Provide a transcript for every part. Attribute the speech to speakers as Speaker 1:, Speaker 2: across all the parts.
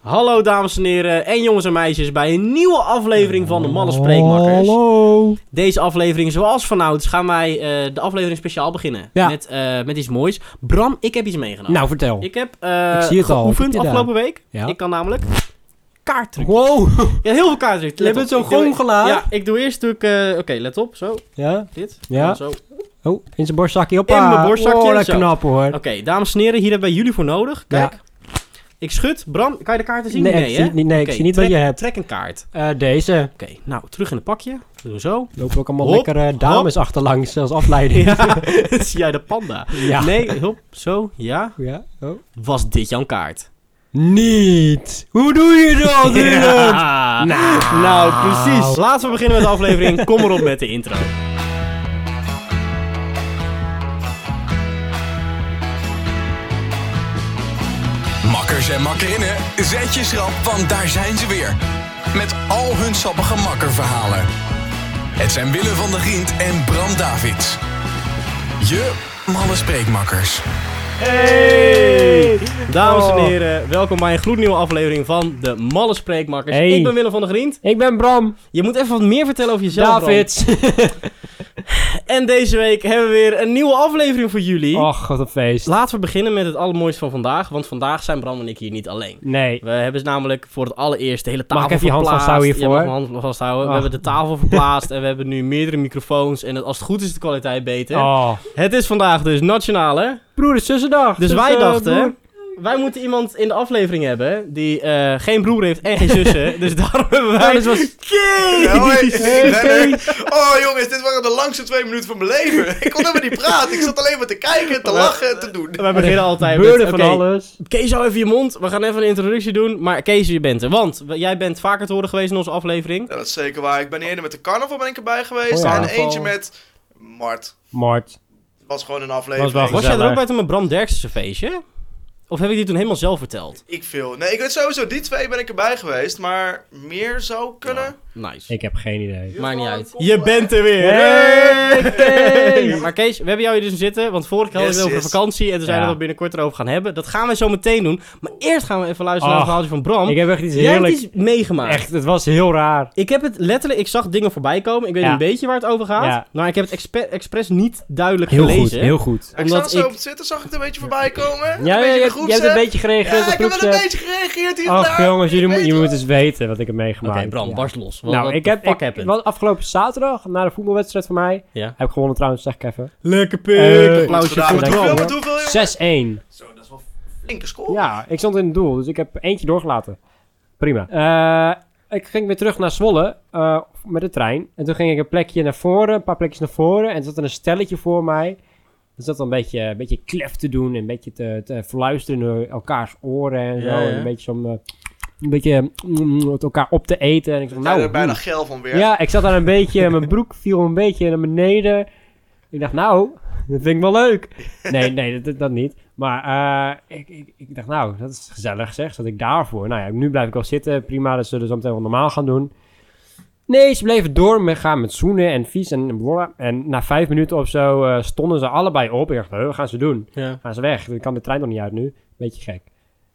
Speaker 1: Hallo dames en heren en jongens en meisjes bij een nieuwe aflevering van de Malle Spreekmakers.
Speaker 2: Hallo.
Speaker 1: Deze aflevering, zoals vanouds, gaan wij eh, de aflevering speciaal beginnen.
Speaker 2: Ja.
Speaker 1: Met, eh, met iets moois. Bram, ik heb iets meegenomen.
Speaker 2: Nou, vertel.
Speaker 1: ik heb eh
Speaker 2: Ik zie het al. Wat heb
Speaker 1: geoefend
Speaker 2: je
Speaker 1: afgelopen week.
Speaker 2: Ja.
Speaker 1: Ik kan namelijk kaarttrucs.
Speaker 2: Wow.
Speaker 1: Ja, heel veel kaarttrucs.
Speaker 2: Je
Speaker 1: Let
Speaker 2: bent
Speaker 1: op.
Speaker 2: zo
Speaker 1: Ik doe- e-
Speaker 2: gewoon gelaat.
Speaker 1: Ja, ik doe eerst natuurlijk... eh, Oké, let op. Zo,
Speaker 2: Ja.
Speaker 1: dit.
Speaker 2: Ja.
Speaker 1: Dan Zo. Oké,
Speaker 2: Oh, in zijn borstzakje. Hoppa.
Speaker 1: In mijn borstzakje,
Speaker 2: Oh, dat
Speaker 1: zo.
Speaker 2: knap hoor.
Speaker 1: dames en heren, hier hebben wij jullie voor nodig. Kijk.
Speaker 2: Ja.
Speaker 1: Ik schud. Bram, kan je de kaarten zien?
Speaker 2: Nee, ik
Speaker 1: hè?
Speaker 2: zie het niet. Nee,
Speaker 1: Oké,
Speaker 2: ik zie niet wat
Speaker 1: trek-
Speaker 2: je hebt.
Speaker 1: Trek een kaart.
Speaker 2: Eh, deze.
Speaker 1: Oké, nou, terug in het pakje. Doen we zo.
Speaker 2: Lopen ook allemaal
Speaker 1: Hop,
Speaker 2: lekkere dames achterlangs als afleiding.
Speaker 1: Ja, zie jij de panda.
Speaker 2: Ja.
Speaker 1: Nee, hop, zo, ja.
Speaker 2: Ja, oh.
Speaker 1: Was dit jouw kaart?
Speaker 2: Niet. Hoe doe je dat, Dylan?
Speaker 1: Nou. precies. Laten we beginnen met de aflevering. Kom erop met de intro.
Speaker 3: Makkers en makkerinnen, zet je schrap, want daar zijn ze weer. Met al hun sappige makkerverhalen. Het zijn Willem van der Giend en Bram Davids. Je malle spreekmakkers.
Speaker 1: Hey! Dames en
Speaker 2: Oh.
Speaker 1: heren, welkom bij een gloednieuwe aflevering van de Malle Spreekmakers.
Speaker 2: Hey.
Speaker 1: Ik ben Willem van der Grient.
Speaker 2: Ik ben Bram.
Speaker 1: Je moet even wat meer vertellen over jezelf, Bram.
Speaker 2: Davids.
Speaker 1: En deze week hebben we weer een nieuwe aflevering voor jullie.
Speaker 2: Och, wat een feest.
Speaker 1: Laten we beginnen met het allermooiste van vandaag, want vandaag zijn Bram en ik hier niet alleen.
Speaker 2: Nee.
Speaker 1: We hebben ze namelijk voor het allereerst de hele tafel
Speaker 2: Mag ik even je hand
Speaker 1: verplaatst.
Speaker 2: vasthouden hiervoor?
Speaker 1: Ja, mag mijn hand vasthouden. We
Speaker 2: Ah.
Speaker 1: hebben de tafel verplaatst en we hebben nu meerdere microfoons. En het- als het goed is de kwaliteit beter.
Speaker 2: Oh.
Speaker 1: Het is vandaag dus nationale.
Speaker 2: Broeder, zussendag.
Speaker 1: Dus
Speaker 2: Dus,
Speaker 1: wij
Speaker 2: eh,
Speaker 1: dachten,
Speaker 2: broer-
Speaker 1: wij moeten iemand in de aflevering hebben die eh, geen broer heeft en geen zussen. dus daarom hebben
Speaker 2: Ja,
Speaker 1: wij...
Speaker 2: dit was...
Speaker 3: Ja, hoi, ik ben er. Oh jongens, dit waren de langste twee minuten van mijn leven. Ik kon helemaal niet praten. Ik zat alleen maar te kijken,
Speaker 2: Oh,
Speaker 3: te lachen en te doen.
Speaker 1: Wij beginnen altijd met...
Speaker 2: Beurde van
Speaker 1: oké,
Speaker 2: alles.
Speaker 1: Kees, hou even je mond. We gaan even een introductie doen. Maar Kees, je bent er. Want we- jij bent vaker te horen geweest in onze aflevering.
Speaker 4: Ja, dat is zeker waar. Ik ben eerder met de carnaval ben ik erbij geweest.
Speaker 2: Oh ja.
Speaker 4: En
Speaker 2: Carnaval.
Speaker 4: eentje met Mart.
Speaker 2: Mart.
Speaker 4: Het was gewoon een
Speaker 2: Was
Speaker 4: aflevering.
Speaker 2: wel
Speaker 1: Was jij er ook
Speaker 2: Gezellig.
Speaker 1: bij toen met Bram Derksen feestje? Of heb ik die toen helemaal zelf verteld?
Speaker 4: Ik veel. Nee, ik weet sowieso, die twee ben ik erbij geweest. Maar meer zou kunnen.
Speaker 1: Nice.
Speaker 2: Ik heb geen idee.
Speaker 1: Maakt niet uit. Je bent er weer!
Speaker 2: Hey,
Speaker 1: Ja,
Speaker 2: Kees!
Speaker 1: Maar Kees, we hebben jou hier dus in zitten, want vorige keer hadden we
Speaker 4: Yes,
Speaker 1: het over
Speaker 4: yes.
Speaker 1: vakantie en toen zeiden we dat we
Speaker 2: Ja.
Speaker 1: binnenkort erover gaan hebben. Dat gaan wij zo meteen doen, maar eerst gaan we even luisteren naar
Speaker 2: Ach,
Speaker 1: het verhaaltje van Bram.
Speaker 2: Ik heb echt iets
Speaker 1: Jij hebt
Speaker 2: heerlijks.
Speaker 1: iets meegemaakt.
Speaker 2: Echt, het was heel raar.
Speaker 1: Ik heb het letterlijk, ik zag dingen voorbij komen, ik weet
Speaker 2: Ja.
Speaker 1: een beetje waar het over gaat,
Speaker 2: Ja.
Speaker 1: maar ik heb het expe- expres niet duidelijk gelezen.
Speaker 2: goed.
Speaker 4: ik zat
Speaker 1: Omdat
Speaker 4: zo
Speaker 1: ik-
Speaker 4: op Twitter, zag ik het een beetje voorbij komen.
Speaker 2: Ja,
Speaker 4: een beetje
Speaker 2: je,
Speaker 4: in de
Speaker 2: je,
Speaker 4: groep
Speaker 2: hebt een
Speaker 4: zet.
Speaker 2: beetje gereageerd op
Speaker 4: Ja, ik
Speaker 2: de
Speaker 4: heb wel een
Speaker 2: groepsapp.
Speaker 4: beetje gereageerd hier en
Speaker 2: Ach
Speaker 4: daar.
Speaker 2: jongens, jullie,
Speaker 4: Ik
Speaker 2: mo-
Speaker 4: weet
Speaker 2: je
Speaker 4: wel.
Speaker 2: moet eens weten wat ik heb meegemaakt.
Speaker 1: Oké, Bram,
Speaker 2: Ja.
Speaker 1: barst los. Wat-
Speaker 2: Nou,
Speaker 1: wat
Speaker 2: ik
Speaker 1: de
Speaker 2: heb,
Speaker 1: fuck
Speaker 2: ik,
Speaker 1: happened?
Speaker 2: wat afgelopen zaterdag, na de voetbalwedstrijd van mij,
Speaker 1: Ja.
Speaker 2: heb ik gewonnen trouwens, zeg ik even. 6-1.
Speaker 1: Lekker
Speaker 2: Eh,
Speaker 1: applausje
Speaker 4: Vandaag
Speaker 1: voor
Speaker 4: met
Speaker 2: Goed
Speaker 4: Ah, hoeveel,
Speaker 2: gedaan,
Speaker 4: met
Speaker 2: hoor.
Speaker 4: hoeveel, jongen? Zo, dat is wel flinke score.
Speaker 2: Ja, ik stond in het doel, dus ik heb eentje doorgelaten. Prima. Eh, ik ging weer terug naar Zwolle eh, met de trein. En toen ging ik een plekje naar voren, een paar plekjes naar voren. En er zat er een stelletje voor mij. Er zat dan een beetje, een beetje klef te doen en een beetje te, te verluisteren in elkaars oren en zo.
Speaker 1: Ja, ja.
Speaker 2: En een beetje zo'n... eh, een beetje mm, het elkaar op te eten. En ik dacht,
Speaker 4: Nou,
Speaker 2: nou,
Speaker 4: er bijna
Speaker 2: mm.
Speaker 4: geil van weer.
Speaker 2: Ja, ik zat daar een beetje, mijn broek viel een beetje naar beneden. Ik dacht, nou, dat vind ik wel leuk. Nee, nee, dat, dat niet. Maar eh, ik, ik, ik dacht, nou, dat is gezellig zeg, zat ik daarvoor. Nou ja, nu blijf ik wel zitten, prima, dat zullen ze zo meteen wel normaal gaan doen. Nee, ze bleven door met gaan met zoenen en vies en blablabla. En na vijf minuten of zo eh, stonden ze allebei op. Ik dacht, "Huh, wat gaan ze doen?
Speaker 1: Ja.
Speaker 2: gaan ze weg. Dan kan de trein nog niet uit nu. Beetje gek.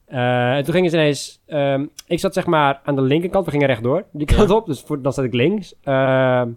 Speaker 2: Eh, en toen gingen ze ineens... ehm, ik zat zeg maar aan de linkerkant. We gingen rechtdoor. Die kant op. Dus voor, dan zat ik links. Ehm,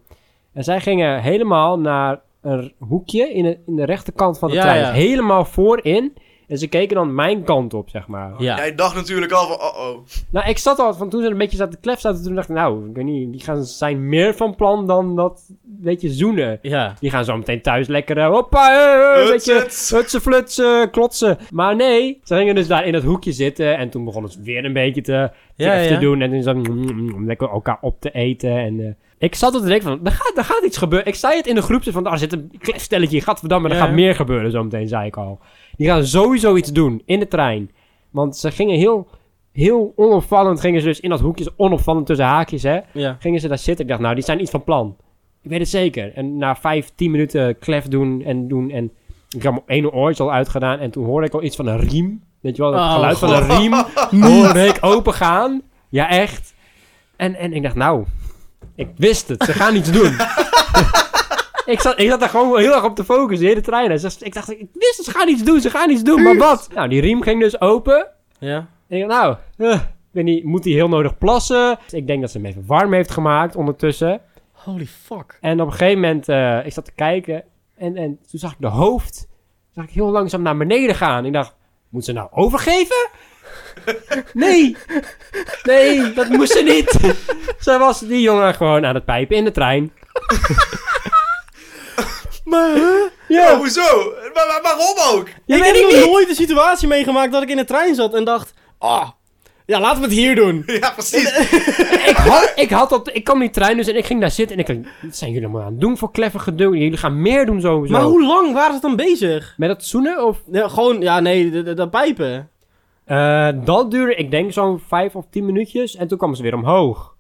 Speaker 2: en zij gingen helemaal naar een hoekje in de, in de rechterkant van de
Speaker 1: Ja,
Speaker 2: trein.
Speaker 1: ja.
Speaker 2: Helemaal voorin. En ze keken dan mijn kant op, zeg maar.
Speaker 1: Ja.
Speaker 4: Jij dacht natuurlijk al van, oh-oh.
Speaker 2: Nou, ik zat al van toen ze een beetje zaten te klef zaten. Toen dacht ik, nou, ik weet niet. Die gaan, zijn meer van plan dan dat, weet je, zoenen.
Speaker 1: Ja.
Speaker 2: Die gaan zo meteen thuis lekker, eh, hoppa, eh, eh, een beetje
Speaker 4: Hutsets.
Speaker 2: hutsen, flutsen, klotsen. Maar nee, ze gingen dus daar in dat hoekje zitten en toen begonnen ze weer een beetje te, te,
Speaker 1: Ja, ja.
Speaker 2: te doen. En toen zo, mm, mm, mm, lekker elkaar op te eten en... eh, ik zat op te denken van, er gaat, er gaat iets gebeuren. Ik zei het in de groep, zo van, daar zit een klefstelletje, gadverdamme, er
Speaker 1: Ja,
Speaker 2: gaat
Speaker 1: ja.
Speaker 2: meer gebeuren zometeen, zei ik al. Die gaan sowieso iets doen in de trein. Want ze gingen heel, heel onopvallend, gingen ze dus in dat hoekje, zo onopvallend tussen haakjes, hè
Speaker 1: Ja.
Speaker 2: gingen ze daar zitten. Ik dacht, nou, die zijn iets van plan. Ik weet het zeker. En na vijf, tien minuten klef doen en doen en... Ik had mijn ene oortje al uitgedaan en toen hoorde ik al iets van een riem. Weet je wel, het
Speaker 1: Oh,
Speaker 2: geluid van een riem hoorde ik opengaan. Ja, echt. En, en ik dacht, nou, ik wist het. Ze gaan iets doen. ik, zat, ik zat daar gewoon heel erg op te focussen, de hele trein. En ze- Ik dacht, ik wist het, ze gaan iets doen, ze gaan iets doen, maar wat? Nou, die riem ging dus open
Speaker 1: Ja.
Speaker 2: en ik dacht, nou, eh, weet niet, moet hij heel nodig plassen? Dus ik denk dat ze hem even warm heeft gemaakt ondertussen.
Speaker 1: Holy fuck.
Speaker 2: En op een gegeven moment, eh, ik zat te kijken en, en toen zag ik de hoofd zag ik heel langzaam naar beneden gaan. Ik dacht, moet ze nou overgeven? Nee, nee, dat moest ze niet. Zij was die jongen gewoon aan het pijpen in de trein.
Speaker 1: Maar hè?
Speaker 2: Ja,
Speaker 4: Oh, hoezo? Maar, maar waarom ook?
Speaker 2: Ja,
Speaker 1: ik
Speaker 2: weet
Speaker 1: heb
Speaker 2: ik
Speaker 1: nog
Speaker 2: niet.
Speaker 1: nooit een situatie meegemaakt dat ik in de trein zat en dacht... Ah, ja, laten we het hier doen.
Speaker 4: Ja, precies.
Speaker 2: ik, had, ik, had op, de- ik kwam in die trein dus en ik ging daar zitten. En ik dacht, wat zijn jullie allemaal aan het doen voor kleffer gedoe? Jullie gaan meer doen sowieso.
Speaker 1: Maar hoe lang waren ze dan bezig?
Speaker 2: Met dat zoenen of...
Speaker 1: Ja, gewoon, ja, nee, de- de- dat pijpen.
Speaker 2: Eh, dat duurde, ik denk, zo'n vijf of tien minuutjes. En toen kwam ze weer omhoog.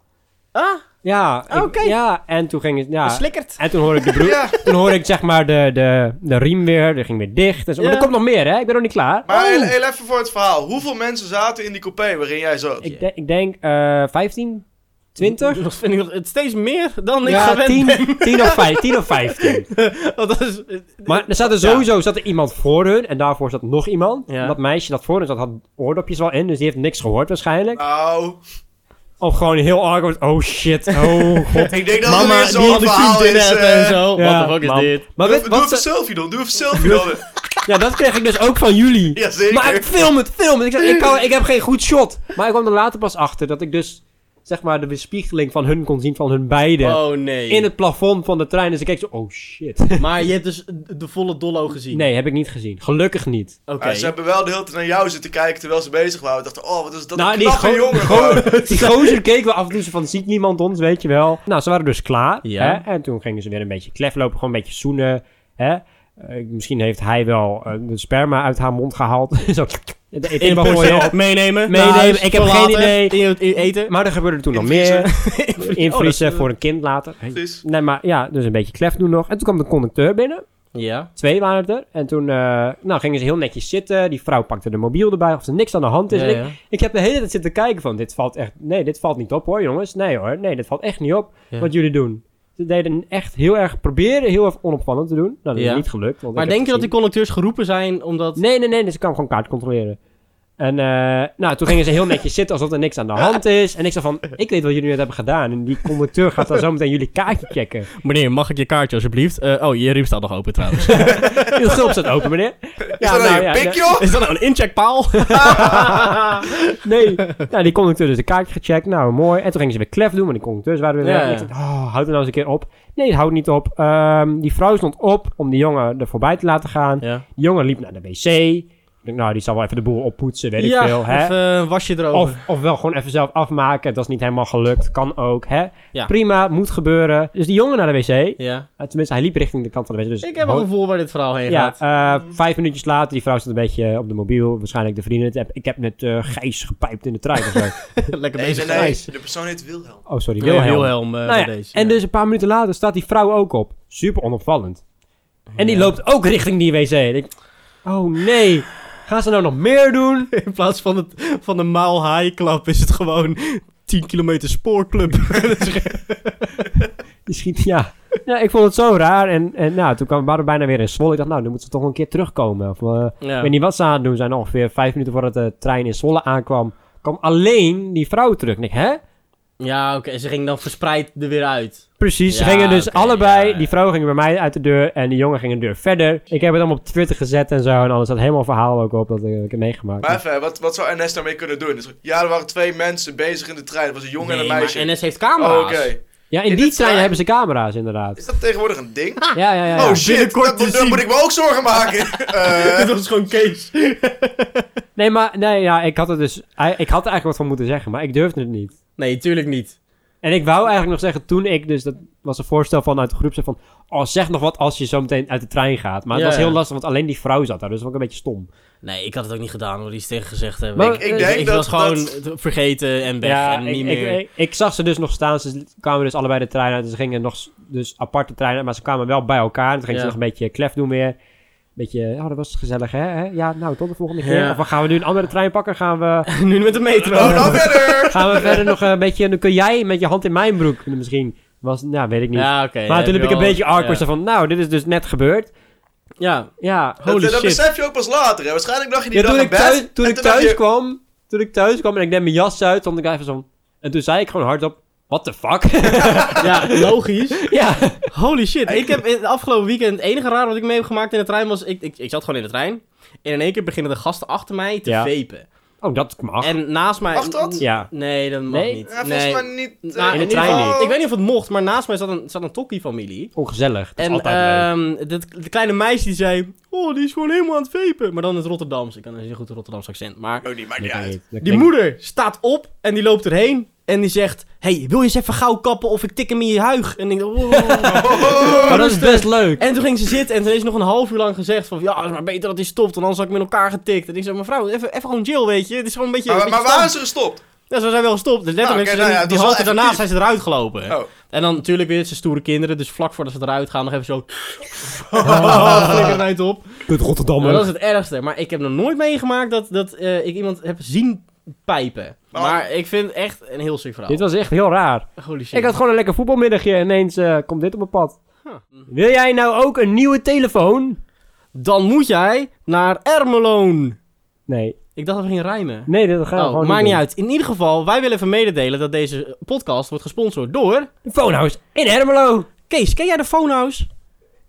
Speaker 1: Ah,
Speaker 2: Ja, ik-
Speaker 1: Oké.
Speaker 2: ja en toen ging het... Ja.
Speaker 1: geslikkerd.
Speaker 2: En toen hoorde ik de broek,
Speaker 4: Ja.
Speaker 2: toen hoorde ik zeg maar de, de, de riem weer, die ging weer dicht. En zo. Maar
Speaker 1: Ja.
Speaker 2: er komt nog meer, hè? Ik ben nog niet klaar.
Speaker 4: Maar
Speaker 1: Oh.
Speaker 4: heel, heel even voor het verhaal. Hoeveel mensen zaten in die coupé waarin jij zat?
Speaker 2: Ik, de- ik denk eh 15, 20?
Speaker 1: Dat vind ik nog het steeds meer dan ik
Speaker 2: ja,
Speaker 1: gewend
Speaker 2: 10, 10, of 5, 10 of 15.
Speaker 1: ben. Want dat is...
Speaker 2: Maar er zat er sowieso zat er iemand voor hun en daarvoor zat nog iemand.
Speaker 1: Ja.
Speaker 2: En dat meisje dat voor hun zat had oordopjes wel in, dus die heeft niks gehoord waarschijnlijk.
Speaker 4: Nou,
Speaker 2: Of gewoon heel awkward, oh shit, oh god.
Speaker 4: ik denk dat het
Speaker 1: Mama,
Speaker 4: weer
Speaker 1: die had de
Speaker 4: zo'n verhaal
Speaker 1: vriendin
Speaker 4: is.
Speaker 1: hebt
Speaker 4: eh,
Speaker 1: en zo.
Speaker 2: Ja,
Speaker 1: What the fuck
Speaker 2: man.
Speaker 1: is dit?
Speaker 2: Maar weet
Speaker 4: doe, even- doe
Speaker 2: wat
Speaker 4: even
Speaker 2: ze,
Speaker 4: selfie dan, doe even selfie dan.
Speaker 2: Ja, dat kreeg ik dus ook van jullie.
Speaker 4: Jazeker.
Speaker 2: Maar ik film het, film het. Ik, zeg, ik, kan, ik heb geen goed shot. Maar ik kwam er later pas achter dat ik dus, zeg maar, de bespiegeling van hun kon zien van hun beiden.
Speaker 1: Oh nee.
Speaker 2: In het plafond van de trein. Dus ik keek zo, oh shit.
Speaker 1: Maar je hebt dus de volle dollo gezien.
Speaker 2: Nee, heb ik niet gezien. Gelukkig niet.
Speaker 1: Oké.
Speaker 4: Maar ze hebben wel de hele tijd naar jou zitten kijken terwijl ze bezig waren. We dachten, oh, wat is dat
Speaker 2: Nou,
Speaker 4: een
Speaker 2: die
Speaker 4: knappe
Speaker 2: go-
Speaker 4: jongen.
Speaker 2: go-
Speaker 4: gewoon.
Speaker 2: Die gozer keek wel af en toe zo van, ziet niemand ons, weet je wel. Nou, ze waren dus klaar.
Speaker 1: Ja.
Speaker 2: Hè? En toen gingen ze weer een beetje klef lopen, gewoon een beetje zoenen. Hè? Eh, misschien heeft hij wel eh, de sperma uit haar mond gehaald. zo, het eten wel mooi op.
Speaker 1: meenemen.
Speaker 2: Meenemen,
Speaker 1: naar huis,
Speaker 2: ik heb
Speaker 1: voor
Speaker 2: geen
Speaker 1: later,
Speaker 2: idee.
Speaker 1: In je- in je eten.
Speaker 2: Maar er gebeurde toen nog
Speaker 4: Invriezen.
Speaker 2: meer. Invriezen
Speaker 1: Oh, dat-
Speaker 2: voor een kind later.
Speaker 4: Precies.
Speaker 2: Nee, maar ja, dus een beetje klef doen nog. En toen kwam de conducteur binnen.
Speaker 1: Ja.
Speaker 2: Twee waren het er. En toen eh, nou, gingen ze heel netjes zitten. Die vrouw pakte de mobiel erbij of er niks aan de hand is.
Speaker 1: Ja,
Speaker 2: En ik-
Speaker 1: ja.
Speaker 2: Ik, heb de hele tijd zitten kijken van, dit valt echt... Nee, dit valt niet op hoor, jongens. Nee hoor, nee, dit valt echt niet op
Speaker 1: Ja.
Speaker 2: wat jullie doen. Ze deden echt heel erg... Proberen heel erg onopvallend te doen. Nou, dat
Speaker 1: Ja.
Speaker 2: is niet gelukt. want
Speaker 1: Maar
Speaker 2: ik heb
Speaker 1: denk je dat die
Speaker 2: gezien-
Speaker 1: conducteurs geroepen zijn omdat...
Speaker 2: Nee, nee, nee. Dus ik kwam gewoon kaart controleren. En eh, nou, toen gingen ze heel netjes zitten alsof er niks aan de hand is. En ik zei van, ik weet wat jullie net hebben gedaan. En die conducteur gaat dan zometeen jullie kaartje checken.
Speaker 1: Meneer, mag ik je kaartje alsjeblieft? Eh, oh, je riem staat nog open trouwens.
Speaker 2: Uw gulp staat open, meneer.
Speaker 4: Is dat nou je pik, joh?
Speaker 1: is dat nou een incheckpaal?
Speaker 2: Nee. Nou, die conducteur dus de kaartje gecheckt. Nou, mooi. En toen gingen ze weer klef doen, maar die conducteurs waren weer
Speaker 1: Ja,
Speaker 2: weg. En ik
Speaker 1: ja.
Speaker 2: dacht, oh, houd er nou eens een keer op. Nee, het houdt niet op. Ehm, die vrouw stond op om die jongen er voorbij te laten gaan.
Speaker 1: ja.
Speaker 2: Die jongen liep naar de wc. Ik dacht, nou, die zal wel even de boel oppoetsen, weet ik veel. Hè?
Speaker 1: even een wasje erover.
Speaker 2: Of, of wel gewoon even zelf afmaken. Dat is niet helemaal gelukt. Kan ook, hè?
Speaker 1: Ja.
Speaker 2: Prima, moet gebeuren. Dus die jongen naar de wc.
Speaker 1: Ja.
Speaker 2: Eh, Tenminste, hij liep richting de kant van de wc. Dus
Speaker 1: Ik heb een
Speaker 2: ho-
Speaker 1: gevoel waar dit verhaal heen
Speaker 2: ja,
Speaker 1: gaat.
Speaker 2: eh, vijf minuutjes later, die vrouw zit een beetje op de mobiel. Waarschijnlijk de vrienden. Het- Ik heb net eh Gijs gepijpt in de trein of zo.
Speaker 1: Lekker
Speaker 4: Nee,
Speaker 1: bezig
Speaker 4: nee, nee.
Speaker 1: geweest.
Speaker 4: De persoon heet Wilhelm.
Speaker 2: Oh, sorry,
Speaker 1: Wilhelm,
Speaker 2: Wilhelm.
Speaker 1: Wilhelm eh,
Speaker 2: Nou ja,
Speaker 1: bij deze.
Speaker 2: En
Speaker 1: ja.
Speaker 2: dus een paar minuten later staat die vrouw ook op. Super onopvallend. En die loopt ook richting die wc. En ik- oh nee, gaan ze nou nog meer doen?
Speaker 1: In plaats van, het, van de Maal High Club is het gewoon 10 kilometer spoorclub.
Speaker 2: Die schiet, ja. ja, ik vond het zo raar. En, en nou, toen kwam we waren bijna weer in Zwolle. Ik dacht, nou, dan moeten ze toch een keer terugkomen. Of, eh, Ik
Speaker 1: ja.
Speaker 2: weet niet wat ze aan het doen zijn. Ongeveer vijf minuten voordat de trein in Zwolle aankwam, kwam alleen die vrouw terug. En ik, hè?
Speaker 1: Ja, oké. Ze ging dan verspreid er weer uit.
Speaker 2: Precies, ze
Speaker 1: Ja,
Speaker 2: gingen dus
Speaker 1: oké,
Speaker 2: allebei.
Speaker 1: ja, ja.
Speaker 2: Die vrouw ging bij mij uit de deur en die jongen ging een deur verder. Ik heb het allemaal op Twitter gezet en zo. En alles staat helemaal verhaal ook op dat ik, ik heb meegemaakt.
Speaker 4: Maar even, wat, wat zou NS daarmee kunnen doen? Dus, ja, er waren twee mensen bezig in de trein. Er was een jongen en
Speaker 1: Nee,
Speaker 4: een
Speaker 1: maar
Speaker 4: meisje.
Speaker 1: NS heeft
Speaker 4: Oh,
Speaker 1: camera's.
Speaker 4: oké.
Speaker 2: ja, in,
Speaker 4: in
Speaker 2: die trein,
Speaker 4: de trein-
Speaker 2: hebben ze camera's inderdaad.
Speaker 4: Is dat tegenwoordig een ding?
Speaker 1: Ah.
Speaker 2: Ja, ja, ja. ja.
Speaker 4: oh shit,
Speaker 1: binnenkort
Speaker 4: dat,
Speaker 1: te
Speaker 4: moet- daar
Speaker 1: zien.
Speaker 4: moet ik me ook zorgen maken. Eh,
Speaker 1: Dit was gewoon Kees.
Speaker 2: Nee, maar nee, ja, ik had er dus. I- Ik had er eigenlijk wat van moeten zeggen, maar ik durfde het niet.
Speaker 1: Nee, tuurlijk niet.
Speaker 2: En ik wou eigenlijk nog zeggen toen ik, dus dat was een voorstel vanuit de groep, zei van, oh zeg nog wat als je zo meteen uit de trein gaat. Maar het
Speaker 1: Ja,
Speaker 2: was heel
Speaker 1: ja.
Speaker 2: lastig, want alleen die vrouw zat daar, dus dat was ook een beetje stom.
Speaker 1: Nee, ik had het ook niet gedaan hoor, die is tegen gezegd hebben.
Speaker 2: Maar
Speaker 1: ik,
Speaker 2: ik
Speaker 1: ik,
Speaker 4: denk
Speaker 1: ik
Speaker 4: dat-
Speaker 1: was gewoon
Speaker 4: dat-
Speaker 1: vergeten en weg en
Speaker 2: ik,
Speaker 1: niet
Speaker 2: ik-
Speaker 1: meer.
Speaker 2: Ik, ik zag ze dus nog staan. Ze kwamen dus allebei de trein uit. en Ze gingen nog s- dus aparte treinen, maar ze kwamen wel bij elkaar. En toen gingen
Speaker 1: Ja.
Speaker 2: ze nog een beetje klef doen weer. Beetje, oh, dat was gezellig, hè? hè? Ja, nou, tot de volgende
Speaker 1: Ja.
Speaker 2: keer. Of wat gaan we nu een andere trein pakken? Gaan we,
Speaker 1: nu met de metro.
Speaker 4: oh, nou verder!
Speaker 2: gaan we verder nog een beetje... Dan kun jij met je hand in mijn broek misschien. Was, nou, weet ik niet.
Speaker 1: ja, oké.
Speaker 2: maar
Speaker 1: ja,
Speaker 2: toen heb ik een
Speaker 1: wel-
Speaker 2: beetje awkward
Speaker 1: Ja,
Speaker 2: zo van, nou, dit is dus net gebeurd.
Speaker 1: ja.
Speaker 2: Ja,
Speaker 4: Dat,
Speaker 1: holy
Speaker 4: dat
Speaker 1: shit.
Speaker 4: besef je ook pas later. Hè. Waarschijnlijk dacht je die
Speaker 2: ja
Speaker 4: dag
Speaker 2: toen
Speaker 4: aan
Speaker 2: ik
Speaker 4: bed.
Speaker 2: thuis, toen
Speaker 4: en
Speaker 2: ik
Speaker 4: dacht
Speaker 2: thuis
Speaker 4: je,
Speaker 2: kwam, toen ik thuis kwam en ik deed mijn jas uit, stond ik even zo... En toen zei ik gewoon hardop, what the fuck?
Speaker 1: Ja, logisch.
Speaker 2: ja.
Speaker 1: Holy shit. Ik heb in het afgelopen weekend... Het enige raar wat ik mee heb gemaakt in de trein was... Ik, ik, ik zat gewoon in de trein. En in één keer beginnen de gasten achter mij te
Speaker 2: Ja.
Speaker 1: vepen.
Speaker 2: Oh, dat mag.
Speaker 1: En naast mij...
Speaker 4: Mag dat?
Speaker 2: Ja.
Speaker 1: Nee, dat mag
Speaker 2: Nee?
Speaker 1: niet.
Speaker 4: Ja, volgens
Speaker 1: nee.
Speaker 4: mij niet. eh,
Speaker 1: Nou,
Speaker 2: in de
Speaker 1: ieder
Speaker 2: trein
Speaker 1: geval-
Speaker 4: niet.
Speaker 1: Ik weet niet of het mocht, maar naast mij zat een, zat een tokkie-familie.
Speaker 2: Ongezellig. Dat is
Speaker 1: En
Speaker 2: altijd leuk.
Speaker 1: ehm dat, de kleine meisje die zei... Oh, die is gewoon helemaal aan het vepen. Maar dan in het Rotterdams. Ik kan een heel goed Rotterdams accent. Maar
Speaker 4: Oh, die maakt
Speaker 2: Dat
Speaker 4: niet
Speaker 2: kan
Speaker 4: uit.
Speaker 2: niet. Dat
Speaker 1: die
Speaker 2: klinkt-
Speaker 1: moeder staat op en die loopt erheen. En die zegt... hey, wil je eens even gauw kappen of ik tik hem in je huig? En ik dacht... "Wow."
Speaker 4: Oh,
Speaker 2: Maar dat is best leuk.
Speaker 1: En toen ging ze zitten en toen is nog een half uur lang gezegd van... Ja, het is maar beter dat hij stopt, want anders had ik met elkaar getikt. En ik zei, mevrouw, even, even gewoon chill, weet je. Het is gewoon een beetje...
Speaker 4: Maar,
Speaker 1: een
Speaker 4: maar
Speaker 1: beetje
Speaker 4: waar is
Speaker 1: stand."
Speaker 4: ze gestopt?
Speaker 1: Ja, ze zijn wel gestopt. Dus letterlijk,
Speaker 4: oké,
Speaker 1: ze
Speaker 4: nou
Speaker 1: zijn-
Speaker 4: ja, het
Speaker 1: die
Speaker 4: was wel
Speaker 1: halte daarna zijn
Speaker 4: effectief.
Speaker 1: ze eruit gelopen.
Speaker 4: Oh.
Speaker 1: En dan natuurlijk weer ze stoere kinderen. Dus vlak voordat ze eruit gaan nog even zo... Oh, flikker eruit op.
Speaker 2: Kut Rotterdam.
Speaker 1: Maar dat is het ergste. Maar ik heb nog nooit meegemaakt dat, dat eh, ik iemand heb zien pijpen.
Speaker 4: Oh.
Speaker 1: Maar ik vind het echt een heel ziek verhaal.
Speaker 2: Dit was echt heel raar.
Speaker 1: Holy shit.
Speaker 2: Ik had gewoon een lekker voetbalmiddagje en ineens eh, komt dit op mijn pad.
Speaker 1: Huh.
Speaker 2: Wil jij nou ook een nieuwe telefoon?
Speaker 1: Dan moet jij naar Ermeloon.
Speaker 2: Nee.
Speaker 1: Ik dacht dat we gingen rijmen.
Speaker 2: Nee, dat gaan we
Speaker 1: Oh,
Speaker 2: gewoon
Speaker 1: maakt niet
Speaker 2: doen.
Speaker 1: uit. In ieder geval, wij willen even mededelen dat deze podcast wordt gesponsord door...
Speaker 2: De Phonehouse in Ermelo.
Speaker 1: Kees, ken jij de Phonehouse?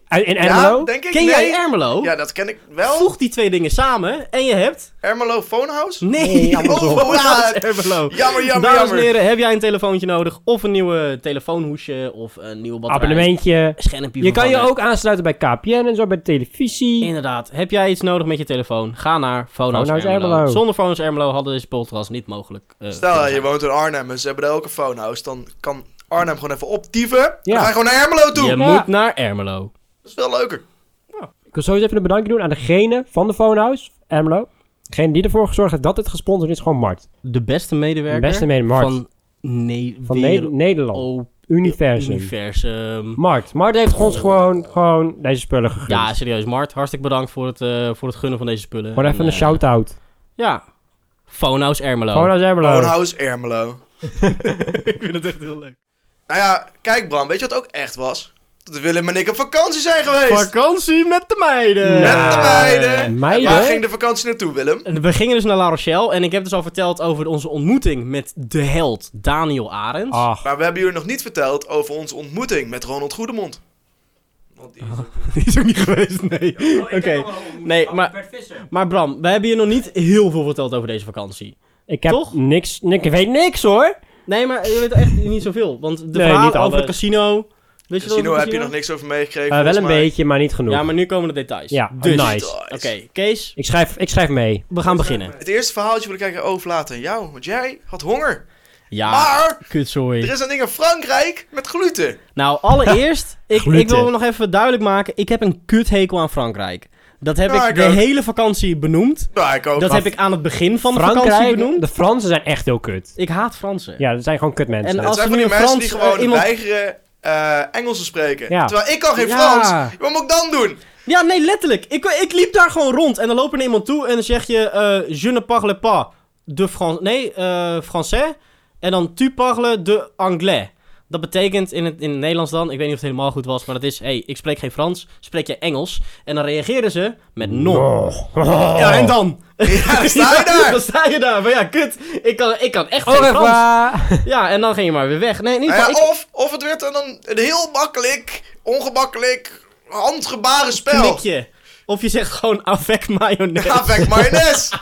Speaker 2: Uit- In Ermelo?
Speaker 4: Ja, denk ik.
Speaker 1: Ken
Speaker 4: nee.
Speaker 1: jij Ermelo?
Speaker 4: Ja, dat ken ik wel.
Speaker 1: Voeg die twee dingen samen en je hebt...
Speaker 4: Ermelo Phonehouse? Oh,
Speaker 1: Nee,
Speaker 2: Nee, andersom.
Speaker 1: Phonehouse Ermelo.
Speaker 4: Jammer, jammer,
Speaker 1: Dames en
Speaker 4: jammer.
Speaker 1: heren, heb jij een telefoontje nodig? Of een nieuwe telefoonhoesje? Of een nieuwe batterij?
Speaker 2: Abonnementje.
Speaker 1: Schermpje
Speaker 2: Je kan je
Speaker 1: vervangen.
Speaker 2: ook aansluiten bij KPN en zo bij de televisie.
Speaker 1: Inderdaad. Heb jij iets nodig met je telefoon? Ga naar Phonehouse
Speaker 2: Phonehouse
Speaker 1: Ermelo.
Speaker 2: Ermelo.
Speaker 1: Zonder Phonehouse Ermelo hadden deze podcast niet mogelijk. eh,
Speaker 4: Stel, je
Speaker 1: kunnen
Speaker 4: woont in Arnhem en ze hebben daar ook een phonehouse. Dan kan Arnhem gewoon even optieven.
Speaker 2: Ja.
Speaker 4: Dan ga je gewoon naar Ermelo toe.
Speaker 1: zijn. Je
Speaker 2: Ja.
Speaker 1: moet naar Ermelo.
Speaker 4: Dat is veel leuker.
Speaker 2: Ik wil sowieso even een bedankje doen aan degene van de Phonehouse, Ermelo. Degene die ervoor gezorgd heeft dat dit gesponsord is, gewoon Mart.
Speaker 1: De beste medewerker.
Speaker 2: De beste medewerker.
Speaker 1: Van, ne
Speaker 2: Van Ne- Nederland.
Speaker 1: Oh,
Speaker 2: Universum.
Speaker 1: universum.
Speaker 2: Mart. Mart heeft ons gewoon, gewoon deze spullen gegund.
Speaker 1: Ja, serieus, Mart. Hartstikke bedankt voor het, eh, voor het gunnen van deze spullen.
Speaker 2: gewoon even
Speaker 1: En,
Speaker 2: een
Speaker 1: eh,
Speaker 2: shout-out.
Speaker 1: Ja. Phonehouse Ermelo.
Speaker 2: Phonehouse Ermelo.
Speaker 4: Phonehouse Ermelo.
Speaker 1: Ik vind het echt heel leuk.
Speaker 4: Nou ja, kijk Bram, weet je wat ook echt was? Dat Willem en ik op vakantie zijn geweest.
Speaker 1: Vakantie met de meiden.
Speaker 4: Met de meiden.
Speaker 2: meiden?
Speaker 4: En Waar ging de vakantie naartoe, Willem?
Speaker 1: En We gingen dus naar La Rochelle en ik heb dus al verteld over onze ontmoeting met de held Daniel Arends.
Speaker 2: Ach,
Speaker 4: Maar we hebben jullie nog niet verteld over onze ontmoeting met Ronald Goedemond. Want die is ook-
Speaker 1: Die is ook niet geweest, nee. Oké. Nee, maar, maar Bram, we hebben je nog niet heel veel verteld over deze vakantie.
Speaker 2: ik heb
Speaker 1: Toch?
Speaker 2: niks, ik weet niks hoor. Eh,
Speaker 1: Nee, maar je weet echt niet zoveel. Want de
Speaker 2: Nee,
Speaker 1: verhalen
Speaker 2: niet
Speaker 1: over het
Speaker 2: alles.
Speaker 1: casino... Weet je
Speaker 4: Casino
Speaker 1: wat
Speaker 4: Dus heb je nog niks over meegekregen.
Speaker 2: Eh, wel een
Speaker 4: volgens mij.
Speaker 2: beetje, maar niet genoeg.
Speaker 1: Ja, maar nu komen de details.
Speaker 2: Ja,
Speaker 1: dus.
Speaker 2: nice.
Speaker 1: Oké, Kees,
Speaker 2: ik, schrijf, ik schrijf mee.
Speaker 1: we gaan beginnen.
Speaker 4: Het eerste verhaaltje wil ik eigenlijk overlaten aan jou, want jij had honger.
Speaker 1: Ja,
Speaker 4: Maar
Speaker 1: kut,
Speaker 4: er
Speaker 1: sorry.
Speaker 4: is een ding in Frankrijk met gluten.
Speaker 1: Nou, allereerst, ik, ik wil
Speaker 2: Gluten.
Speaker 1: nog even duidelijk maken. Ik heb een kuthekel aan Frankrijk. Dat heb
Speaker 4: Ja,
Speaker 1: ik
Speaker 4: Ah, ik
Speaker 1: de
Speaker 4: ook.
Speaker 1: hele vakantie benoemd.
Speaker 4: Nou, ik ook.
Speaker 1: Dat heb ik aan het begin van de vakantie
Speaker 2: Frankrijk,
Speaker 1: benoemd.
Speaker 2: de Fransen zijn echt heel kut.
Speaker 1: Ik haat Fransen.
Speaker 2: Ja, dat zijn gewoon kut mensen.
Speaker 1: En
Speaker 4: Het
Speaker 1: als
Speaker 4: zijn
Speaker 1: er
Speaker 4: van
Speaker 1: nu
Speaker 4: die
Speaker 1: een
Speaker 4: mensen die
Speaker 1: Frans,
Speaker 4: gewoon
Speaker 1: eh, iemand-
Speaker 4: weigeren eh, Engels te spreken.
Speaker 2: Ja.
Speaker 4: Terwijl ik kan geen
Speaker 1: Ja.
Speaker 4: Frans. Wat moet ik dan doen?
Speaker 1: Ja, nee, letterlijk. Ik, ik liep daar gewoon rond en dan loopt er iemand toe en dan zeg je... eh je ne parle pas de Frans... Nee, eh Français. En dan tu parles de Anglais. Dat betekent in het, in het Nederlands dan, ik weet niet of het helemaal goed was, maar dat is... Hé, hey, ik spreek geen Frans, spreek jij Engels? En dan reageren ze met non. Ja, en dan?
Speaker 4: Ja, dan sta je daar.
Speaker 1: dan sta je daar. Maar ja, kut. Ik kan, ik kan echt
Speaker 2: Oh,
Speaker 1: geen
Speaker 2: echt
Speaker 1: Frans.
Speaker 2: waar?
Speaker 1: Ja, en dan ging je maar weer weg. Nee, in ieder
Speaker 4: Nou ja,
Speaker 1: geval, ik-
Speaker 4: of, of het werd dan een heel makkelijk, ongemakkelijk, handgebaren spel.
Speaker 1: knikje. Of je zegt gewoon avec mayonaise.
Speaker 4: Ga weg, mayonaise.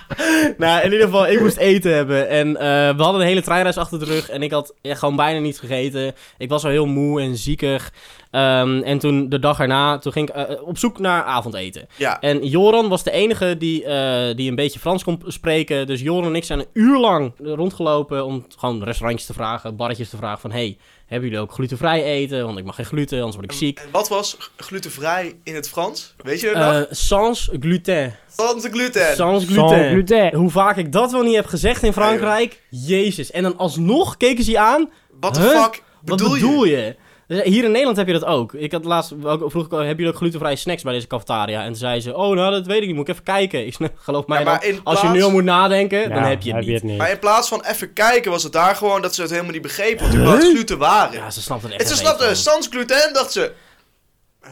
Speaker 1: nou, in ieder geval, ik moest eten hebben. En eh, we hadden een hele treinreis achter de rug. En ik had ja, gewoon bijna niet gegeten. Ik was al heel moe en ziekig. Ehm, en toen, de dag erna, toen ging ik eh, eh, op zoek naar avondeten.
Speaker 4: Ja.
Speaker 1: En Joran was de enige die, eh, die een beetje Frans kon spreken. Dus Joran en ik zijn een uur lang rondgelopen om t- gewoon restaurantjes te vragen, barretjes te vragen van... Hey, hebben jullie ook glutenvrij eten? Want ik mag geen gluten, anders word ik ziek.
Speaker 4: En wat was g- glutenvrij in het Frans? Weet je dat nog?
Speaker 1: Eh, sans gluten.
Speaker 4: Sans gluten.
Speaker 1: Sans gluten.
Speaker 2: Sans gluten.
Speaker 1: Eh, Hoe vaak ik dat wel niet heb gezegd in Frankrijk. Jezus. En dan alsnog keken ze je aan.
Speaker 4: What the
Speaker 1: Huh?
Speaker 4: fuck bedoel,
Speaker 1: Wat bedoel
Speaker 4: je?
Speaker 1: je? Dus Hier in Nederland heb je dat ook. Ik had laatst ook, vroeg ik, hebben jullie ook glutenvrije snacks bij deze cafetaria? En toen zei ze, oh nou dat weet ik niet, moet ik even kijken. Ik zei, geloof mij
Speaker 4: Ja, maar
Speaker 1: dan,
Speaker 4: in
Speaker 1: als je
Speaker 4: plaats-
Speaker 1: nu al moet nadenken, dan
Speaker 2: Ja,
Speaker 1: heb je het niet.
Speaker 4: Maar in plaats van even kijken was het daar gewoon dat ze het helemaal niet begrepen. Want überhaupt gluten waren.
Speaker 1: Ja, ze snapt het echt
Speaker 4: en ze
Speaker 1: geen reet
Speaker 4: snapte,
Speaker 1: van.
Speaker 4: sans gluten, dacht ze.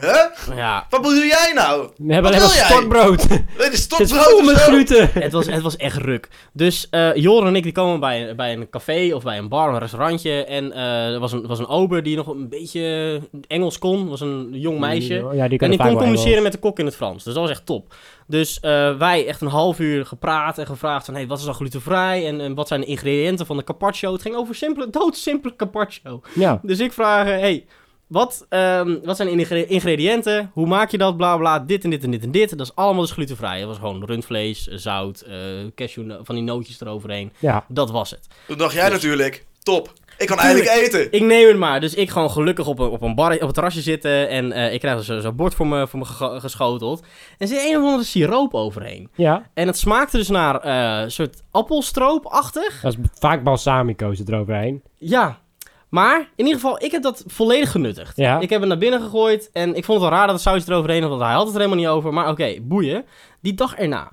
Speaker 4: Huh?
Speaker 1: Ja.
Speaker 4: Wat bedoel jij nou?
Speaker 2: We hebben
Speaker 4: Wat
Speaker 2: alleen maar
Speaker 4: wil jij?
Speaker 2: stokbrood.
Speaker 4: Dit is
Speaker 2: Het is
Speaker 4: stokbrood
Speaker 2: vol
Speaker 4: of
Speaker 2: met
Speaker 4: zo?
Speaker 2: gluten.
Speaker 1: Het was, het was echt ruk. Dus eh Joren en ik die komen bij, een- bij een café of bij een bar, een restaurantje. En eh, er was een, was een ober die nog een beetje Engels kon. was een jong meisje.
Speaker 2: Ja,
Speaker 1: En
Speaker 2: die kan
Speaker 1: ik kon
Speaker 2: vaak wel
Speaker 1: communiceren
Speaker 2: Engels.
Speaker 1: met de kok in het Frans. Dus dat was echt top. Dus eh, wij echt een half uur gepraat en gevraagd van... Hey, wat is dan glutenvrij? En, en wat zijn de ingrediënten van de carpaccio? Het ging over simpele, doodsimpele carpaccio.
Speaker 2: Ja.
Speaker 1: Dus ik vraag... eh, Hey, wat, ehm, wat zijn de ingre- ingrediënten? Hoe maak je dat? Bla bla. Dit en dit en dit en dit. Dat is allemaal dus glutenvrij. Dat was gewoon rundvlees, zout, eh cashew, van die nootjes eroverheen.
Speaker 2: ja.
Speaker 1: Dat was het.
Speaker 4: Toen dacht jij natuurlijk, top. Ik kan eigenlijk eten.
Speaker 1: Ik neem het maar. Dus ik gewoon gelukkig op een, op een, bar, op een terrasje zitten. En eh, ik krijg zo'n zo bord voor me, voor me gego- geschoteld. En er zit een of andere siroop overheen.
Speaker 2: Ja.
Speaker 1: En het smaakte dus naar eh, een soort appelstroopachtig.
Speaker 2: Dat is vaak balsamico zit eroverheen.
Speaker 1: Ja. Maar in ieder geval, ik heb dat volledig genuttigd.
Speaker 2: Ja.
Speaker 1: Ik heb het naar binnen gegooid. En ik vond het wel raar dat het sausje eroverheen had. Want hij had het er helemaal niet over. Maar oké, boeien. Die dag erna.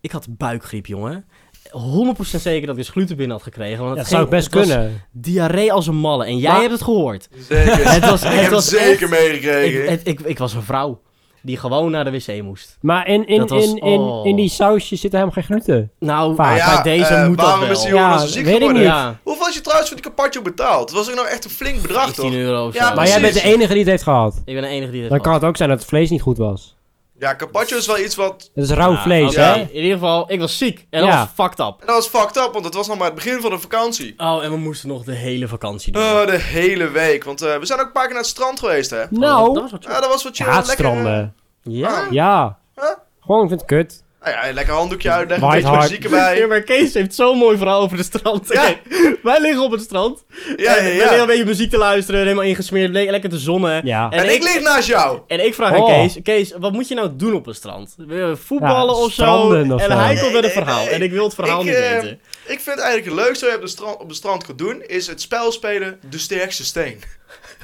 Speaker 1: Ik had buikgriep, jongen. 100% zeker dat ik dus gluten binnen had gekregen. Want
Speaker 2: Dat,
Speaker 1: het
Speaker 2: zou
Speaker 1: ging-
Speaker 2: best
Speaker 1: het was
Speaker 2: kunnen.
Speaker 1: Diarree als een malle. En jij
Speaker 2: Maar-
Speaker 1: hebt het gehoord.
Speaker 4: Zeker.
Speaker 1: Het was,
Speaker 4: ik
Speaker 1: het
Speaker 4: heb het
Speaker 1: was
Speaker 4: zeker
Speaker 1: echt-
Speaker 4: meegekregen.
Speaker 1: Ik, het- ik, ik was een vrouw die gewoon naar de wc moest.
Speaker 2: Maar in, in,
Speaker 1: Dat was-
Speaker 2: in, in,
Speaker 1: oh.
Speaker 2: in die sausjes zit helemaal geen gluten.
Speaker 1: Nou,
Speaker 2: Maar
Speaker 1: bij
Speaker 4: ja,
Speaker 1: deze
Speaker 4: eh,
Speaker 1: moet dat
Speaker 4: waarom
Speaker 1: wel.
Speaker 4: is die jongen
Speaker 2: Ja,
Speaker 4: zo ziek
Speaker 2: weet ik
Speaker 4: geworden?
Speaker 2: niet.
Speaker 1: Ja,
Speaker 4: Hoeveel had je trouwens voor die carpaccio betaald? Dat was ook nou echt een flink bedrag, toch?
Speaker 1: 15 euro of
Speaker 4: Ja,
Speaker 1: zo.
Speaker 2: Maar jij bent de
Speaker 4: Precies.
Speaker 2: enige die het heeft gehad.
Speaker 1: Ik ben de enige die dit
Speaker 2: Dan
Speaker 1: had.
Speaker 2: kan het ook zijn dat het vlees niet goed was.
Speaker 4: Ja, carpaccio is wel iets wat...
Speaker 2: Het is rauw
Speaker 1: Ja,
Speaker 2: vlees,
Speaker 1: Nou, oké.
Speaker 2: hè?
Speaker 1: In ieder geval, ik was ziek. En
Speaker 2: Ja.
Speaker 1: dat was fucked up.
Speaker 4: En dat was fucked up, want dat was nog maar het begin van de vakantie.
Speaker 1: Oh, en we moesten nog de hele vakantie doen.
Speaker 4: Oh, de hele week. Want eh, we zijn ook een paar keer naar het strand geweest, hè?
Speaker 1: Oh, dat
Speaker 2: Nou,
Speaker 1: was wat-
Speaker 4: Ja, dat was wat
Speaker 2: je
Speaker 4: je
Speaker 2: haat
Speaker 4: lekker... eh,
Speaker 1: eh.
Speaker 2: stranden.
Speaker 1: Ja.
Speaker 2: Ja.
Speaker 4: Huh?
Speaker 2: Gewoon, ik vind het kut.
Speaker 4: Nou ja, lekker handdoekje uitleggen, een
Speaker 2: White
Speaker 4: beetje
Speaker 2: hard.
Speaker 4: muziek erbij.
Speaker 1: Ja, maar Kees heeft zo'n mooi verhaal over de strand.
Speaker 4: Ja.
Speaker 1: Oké, Wij liggen op het strand.
Speaker 4: Ja,
Speaker 1: En
Speaker 4: ja,
Speaker 1: ben een
Speaker 4: ja.
Speaker 1: beetje muziek te luisteren. Helemaal ingesmeerd. le- Lekker te zonnen.
Speaker 2: Ja.
Speaker 4: En ik lig naast jou.
Speaker 1: En ik vraag aan
Speaker 2: Oh.
Speaker 1: Kees, Kees, wat moet je nou doen op een strand? Wil je Voetballen
Speaker 2: Ja,
Speaker 1: of zo?
Speaker 2: stranden of
Speaker 1: En
Speaker 2: zo.
Speaker 1: hij komt
Speaker 4: Nee,
Speaker 1: met een
Speaker 4: nee,
Speaker 1: verhaal.
Speaker 4: nee.
Speaker 1: En ik wil het verhaal
Speaker 4: Ik,
Speaker 1: niet
Speaker 4: eh,
Speaker 1: weten.
Speaker 4: Ik vind eigenlijk het leukste wat je op, de strand, op het strand kunt doen, is het spel spelen De Sterkste Steen.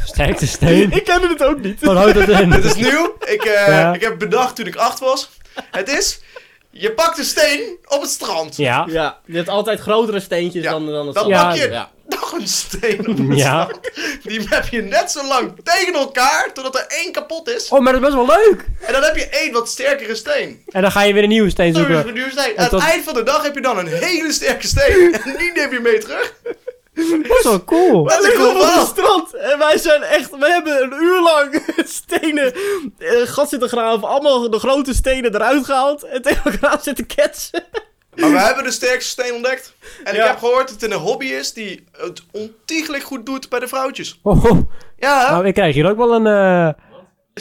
Speaker 2: Sterkte steen.
Speaker 1: Ik kende het ook niet.
Speaker 2: Wat houdt dat in?
Speaker 4: Dit is nieuw. Ik, eh,
Speaker 2: Ja.
Speaker 4: ik heb bedacht toen ik acht was. Het is, je pakt een steen op het strand.
Speaker 2: Ja.
Speaker 1: Ja, je hebt altijd grotere steentjes
Speaker 4: Ja,
Speaker 1: dan, dan het
Speaker 4: dat
Speaker 1: zand.
Speaker 2: pak
Speaker 4: je.
Speaker 1: Ja.
Speaker 4: Nog een steen op het
Speaker 2: Ja.
Speaker 4: strand. Die heb je net zo lang tegen elkaar, totdat er één kapot is.
Speaker 2: Oh, maar dat is best wel leuk.
Speaker 4: En dan heb je één wat sterkere steen.
Speaker 2: En dan ga je weer een nieuwe steen
Speaker 4: Sorry,
Speaker 2: zoeken.
Speaker 4: voor duur steen.
Speaker 2: En
Speaker 4: Aan
Speaker 2: tot-
Speaker 4: het eind van de dag heb je dan een hele sterke steen. En die neem je mee terug.
Speaker 2: Dat is wel cool.
Speaker 4: Dat is een
Speaker 1: liggen
Speaker 4: cool
Speaker 1: op het
Speaker 4: verhaal.
Speaker 1: strand. En wij zijn echt, we hebben een uur lang stenen, eh, gat zitten graven, allemaal de grote stenen eruit gehaald en tegen elkaar zitten ketsen.
Speaker 4: Maar we hebben de sterkste steen ontdekt. En
Speaker 1: Ja.
Speaker 4: ik heb gehoord dat het een hobby is die het ontiegelijk goed doet bij de vrouwtjes.
Speaker 2: Oh, oh.
Speaker 4: Ja,
Speaker 2: Nou, ik krijg hier ook wel een... eh,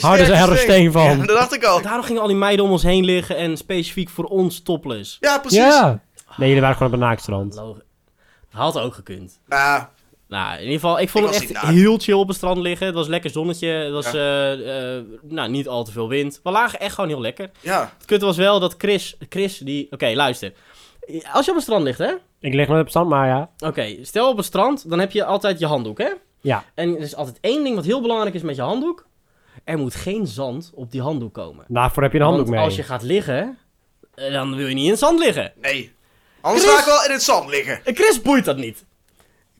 Speaker 2: harde
Speaker 4: sterke
Speaker 2: harde steen van.
Speaker 4: Ja, dat dacht ik al.
Speaker 1: Daarom gingen al die meiden om ons heen liggen en specifiek voor ons topless.
Speaker 4: Ja, precies.
Speaker 2: Ja. Nee, jullie waren gewoon op een naaktstrand.
Speaker 1: Logisch. Had ook gekund.
Speaker 4: Nou,
Speaker 1: Nou, in ieder geval, ik vond
Speaker 4: Ik
Speaker 1: het
Speaker 4: was
Speaker 1: echt
Speaker 4: niet naakt.
Speaker 1: heel chill op het strand liggen. Het was lekker zonnetje. Het was eh, eh, nou, niet al te veel wind. We lagen echt gewoon heel lekker.
Speaker 4: ja.
Speaker 1: Het kutte was wel dat Chris, Chris die... Oké, luister. Als je op het strand ligt, hè? Oké,
Speaker 2: Ik lig nooit op het strand, maar ja.
Speaker 1: stel op het strand, dan heb je altijd je handdoek, hè?
Speaker 2: Ja.
Speaker 1: En er is altijd één ding wat heel belangrijk is met je handdoek. Er moet geen zand op die handdoek komen.
Speaker 2: Daarvoor heb je een handdoek
Speaker 1: Want
Speaker 2: mee.
Speaker 1: als je gaat liggen, eh, dan wil je niet in het zand liggen.
Speaker 4: Nee. Anders
Speaker 1: Chris.
Speaker 4: ga ik wel in het zand liggen.
Speaker 1: En Chris boeit dat niet.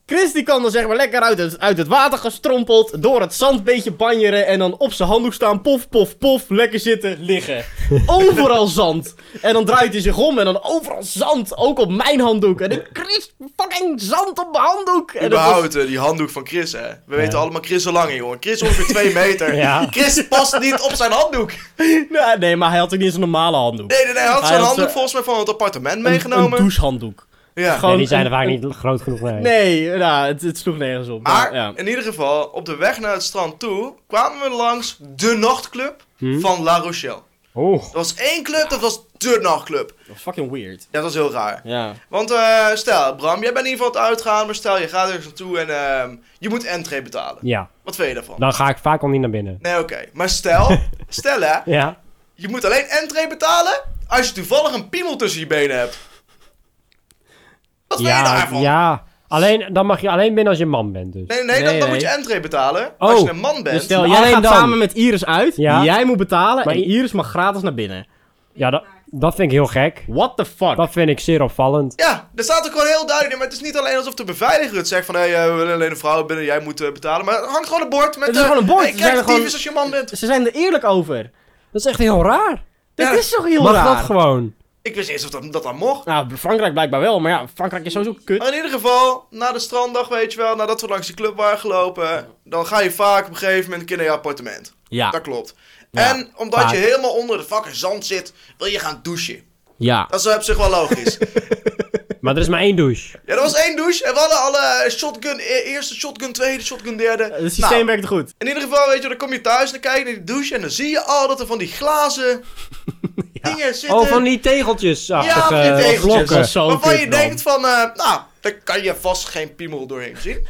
Speaker 1: Chris die kan dan zeg maar lekker uit het, uit het water gestrompeld, door het zand beetje banjeren en dan op zijn handdoek staan, pof, pof, pof, lekker zitten, liggen. Overal zand. En dan draait hij zich om en dan overal zand, ook op mijn handdoek. En ik, Chris, fucking zand op mijn handdoek. En dat was-
Speaker 4: Überhaupt, eh, die handdoek van Chris, hè. We weten allemaal Chris zo lang, jongen. Chris ongeveer 2 meter.
Speaker 2: Ja.
Speaker 4: Chris past niet op zijn handdoek.
Speaker 1: Nou, nee, maar hij had ook niet zijn normale handdoek.
Speaker 4: Nee, nee, nee, hij had
Speaker 1: Hij
Speaker 4: zijn
Speaker 1: had,
Speaker 4: handdoek
Speaker 1: eh,
Speaker 4: volgens mij van het appartement
Speaker 1: Een- Een
Speaker 4: meegenomen.
Speaker 1: douchehanddoek.
Speaker 4: ja.
Speaker 1: Gewoon
Speaker 2: Nee, die zijn
Speaker 1: een-
Speaker 2: er vaak
Speaker 1: een-
Speaker 2: niet groot genoeg mee.
Speaker 1: Nee, nou, het, het sloeg nergens op.
Speaker 4: Maar
Speaker 1: ja.
Speaker 4: in ieder geval, op de weg naar het strand toe kwamen we langs de nachtclub
Speaker 1: Hmm?
Speaker 4: van La Rochelle.
Speaker 2: Oeh.
Speaker 4: Er was één club, dat was de nachtclub.
Speaker 1: Dat was fucking weird.
Speaker 4: Ja, dat is heel raar.
Speaker 1: Ja.
Speaker 4: Want eh, stel, Bram, jij bent in ieder geval aan het uitgaan, maar stel, je gaat ergens naartoe en ehm, je moet entree betalen.
Speaker 2: Ja.
Speaker 4: Wat vind je daarvan?
Speaker 2: Dan ga ik vaak al niet naar binnen.
Speaker 4: Nee, oké. Maar stel, stel hè,
Speaker 2: Ja.
Speaker 4: je moet alleen entree betalen als je toevallig een piemel tussen je benen hebt. Wat vind je
Speaker 2: Ja.
Speaker 4: daarvan?
Speaker 2: Ja. Alleen, dan mag je alleen binnen als je man bent dus.
Speaker 4: Nee, nee, dan,
Speaker 1: Nee,
Speaker 4: dan
Speaker 1: nee.
Speaker 4: moet je entree betalen
Speaker 2: Oh,
Speaker 4: als je een man bent.
Speaker 1: Dus stel,
Speaker 2: Maar
Speaker 1: jij
Speaker 2: alleen
Speaker 1: gaat
Speaker 2: dan.
Speaker 1: samen met Iris uit,
Speaker 2: Ja.
Speaker 1: jij moet betalen
Speaker 2: Maar
Speaker 1: en
Speaker 2: i-
Speaker 1: Iris mag gratis naar binnen.
Speaker 2: Ja, dan, Dat vind ik heel gek.
Speaker 1: What the fuck?
Speaker 2: Dat vind ik zeer opvallend.
Speaker 4: Ja, daar staat ook gewoon heel duidelijk in. Maar het is niet alleen alsof de beveiliger het zegt van... hé, hey, eh, we willen alleen een vrouw binnen, jij moet eh, betalen. Maar er hangt gewoon een bord met...
Speaker 1: Het is
Speaker 4: eh,
Speaker 1: gewoon een bord.
Speaker 4: hey,
Speaker 1: Ze
Speaker 4: kijk,
Speaker 1: zijn
Speaker 4: het
Speaker 1: gewoon-
Speaker 4: is als je man bent.
Speaker 1: Ze zijn er eerlijk over.
Speaker 2: Dat is echt heel raar.
Speaker 1: Dit
Speaker 4: Ja,
Speaker 1: is toch heel
Speaker 2: Mag
Speaker 1: raar?
Speaker 2: dat gewoon?
Speaker 4: Ik wist eerst of dat, dat dan mocht.
Speaker 1: Nou, Frankrijk blijkbaar wel, maar ja, Frankrijk is sowieso kut.
Speaker 4: Maar in ieder geval, na de stranddag, weet je wel... nadat we langs de club waren gelopen... dan ga je vaak op een gegeven moment een keer naar je appartement.
Speaker 1: Ja,
Speaker 2: Ah.
Speaker 4: Dat klopt.
Speaker 1: Ja,
Speaker 4: en omdat
Speaker 2: vaak.
Speaker 4: je helemaal onder de fucking zand zit... wil je gaan douchen.
Speaker 1: ja.
Speaker 4: Dat is op zich wel logisch.
Speaker 2: Maar er is maar één douche.
Speaker 4: ja, er was één douche en we hadden alle eh, shotgun... e- eerste shotgun, tweede shotgun, derde.
Speaker 1: Het
Speaker 4: Nou,
Speaker 1: systeem werkt goed.
Speaker 4: In ieder geval, weet je, wel, dan kom je thuis en dan kijk je naar die douche en dan zie je al dat er van die glazen dingen zitten.
Speaker 2: Oh, van die eh, tegeltjes.
Speaker 4: Ja, van die tegeltjes.
Speaker 1: Dat is zo
Speaker 4: waarvan
Speaker 1: kut,
Speaker 4: je
Speaker 1: man.
Speaker 4: denkt van, eh, nou, daar kan je vast geen piemel doorheen zien.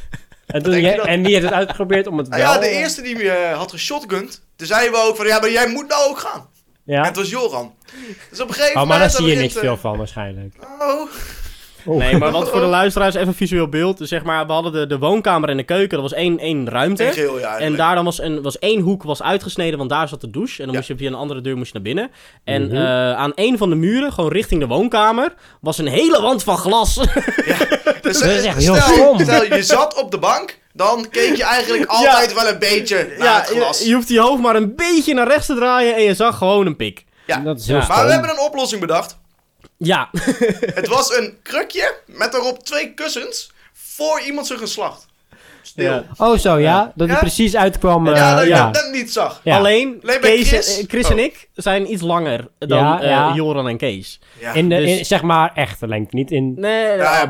Speaker 2: En, toen
Speaker 4: denk je
Speaker 2: jij-
Speaker 4: dat?
Speaker 2: en die heeft het uitgeprobeerd om het wel...
Speaker 4: Nou ja, de eerste die eh, had geshotgund, toen zeiden we ook van, ja, maar jij moet nou ook gaan.
Speaker 2: Ja.
Speaker 4: En het was Joran. Dus op een gegeven
Speaker 2: Oh, maar daar
Speaker 4: moment...
Speaker 2: zie je
Speaker 4: dan
Speaker 2: niks veel
Speaker 4: begint,
Speaker 2: van waarschijnlijk.
Speaker 4: eh, oh.
Speaker 1: Nee, maar wat voor de luisteraars, even visueel beeld. Dus zeg maar, we hadden de, de woonkamer en de keuken, dat was één, één ruimte.
Speaker 4: Een geheel,
Speaker 1: En
Speaker 4: ja, eigenlijk.
Speaker 1: daar dan was, een, was één hoek was uitgesneden, want daar zat de douche. En dan
Speaker 4: Ja.
Speaker 1: moest je via een andere deur moest je naar binnen. En
Speaker 2: Mhm.
Speaker 1: eh, aan één van de muren, gewoon richting de woonkamer, was een hele wand van glas.
Speaker 4: Dus,
Speaker 2: Dat is
Speaker 4: eh,
Speaker 2: echt heel
Speaker 4: stel,
Speaker 2: stom.
Speaker 4: stel, je zat op de bank, dan keek je eigenlijk altijd wel een beetje naar
Speaker 1: ja,
Speaker 4: het glas.
Speaker 1: Je, je hoeft je hoofd maar een beetje naar rechts te draaien en je zag gewoon een pik.
Speaker 4: ja.
Speaker 2: Dat is heel
Speaker 4: Maar we
Speaker 2: stom.
Speaker 4: hebben een oplossing bedacht.
Speaker 1: Ja,
Speaker 4: Het was een krukje met daarop twee kussens voor iemand zijn geslacht. Stil.
Speaker 1: Ja.
Speaker 2: Oh, zo ja? Dat hij
Speaker 4: Ja.
Speaker 2: precies uitkwam. eh,
Speaker 4: ja, dat ik
Speaker 2: ja.
Speaker 4: dat net niet zag.
Speaker 2: Ja.
Speaker 1: alleen
Speaker 4: bij
Speaker 1: Kees,
Speaker 4: Chris-
Speaker 1: eh, Chris en
Speaker 4: Oh.
Speaker 1: ik zijn iets langer dan
Speaker 2: Ja,
Speaker 1: eh,
Speaker 2: ja.
Speaker 1: Joran en Kees.
Speaker 4: Ja,
Speaker 2: In, de,
Speaker 1: Dus-
Speaker 2: in zeg maar echte lengte, niet in...
Speaker 1: Nee,
Speaker 4: Ja,
Speaker 1: nou,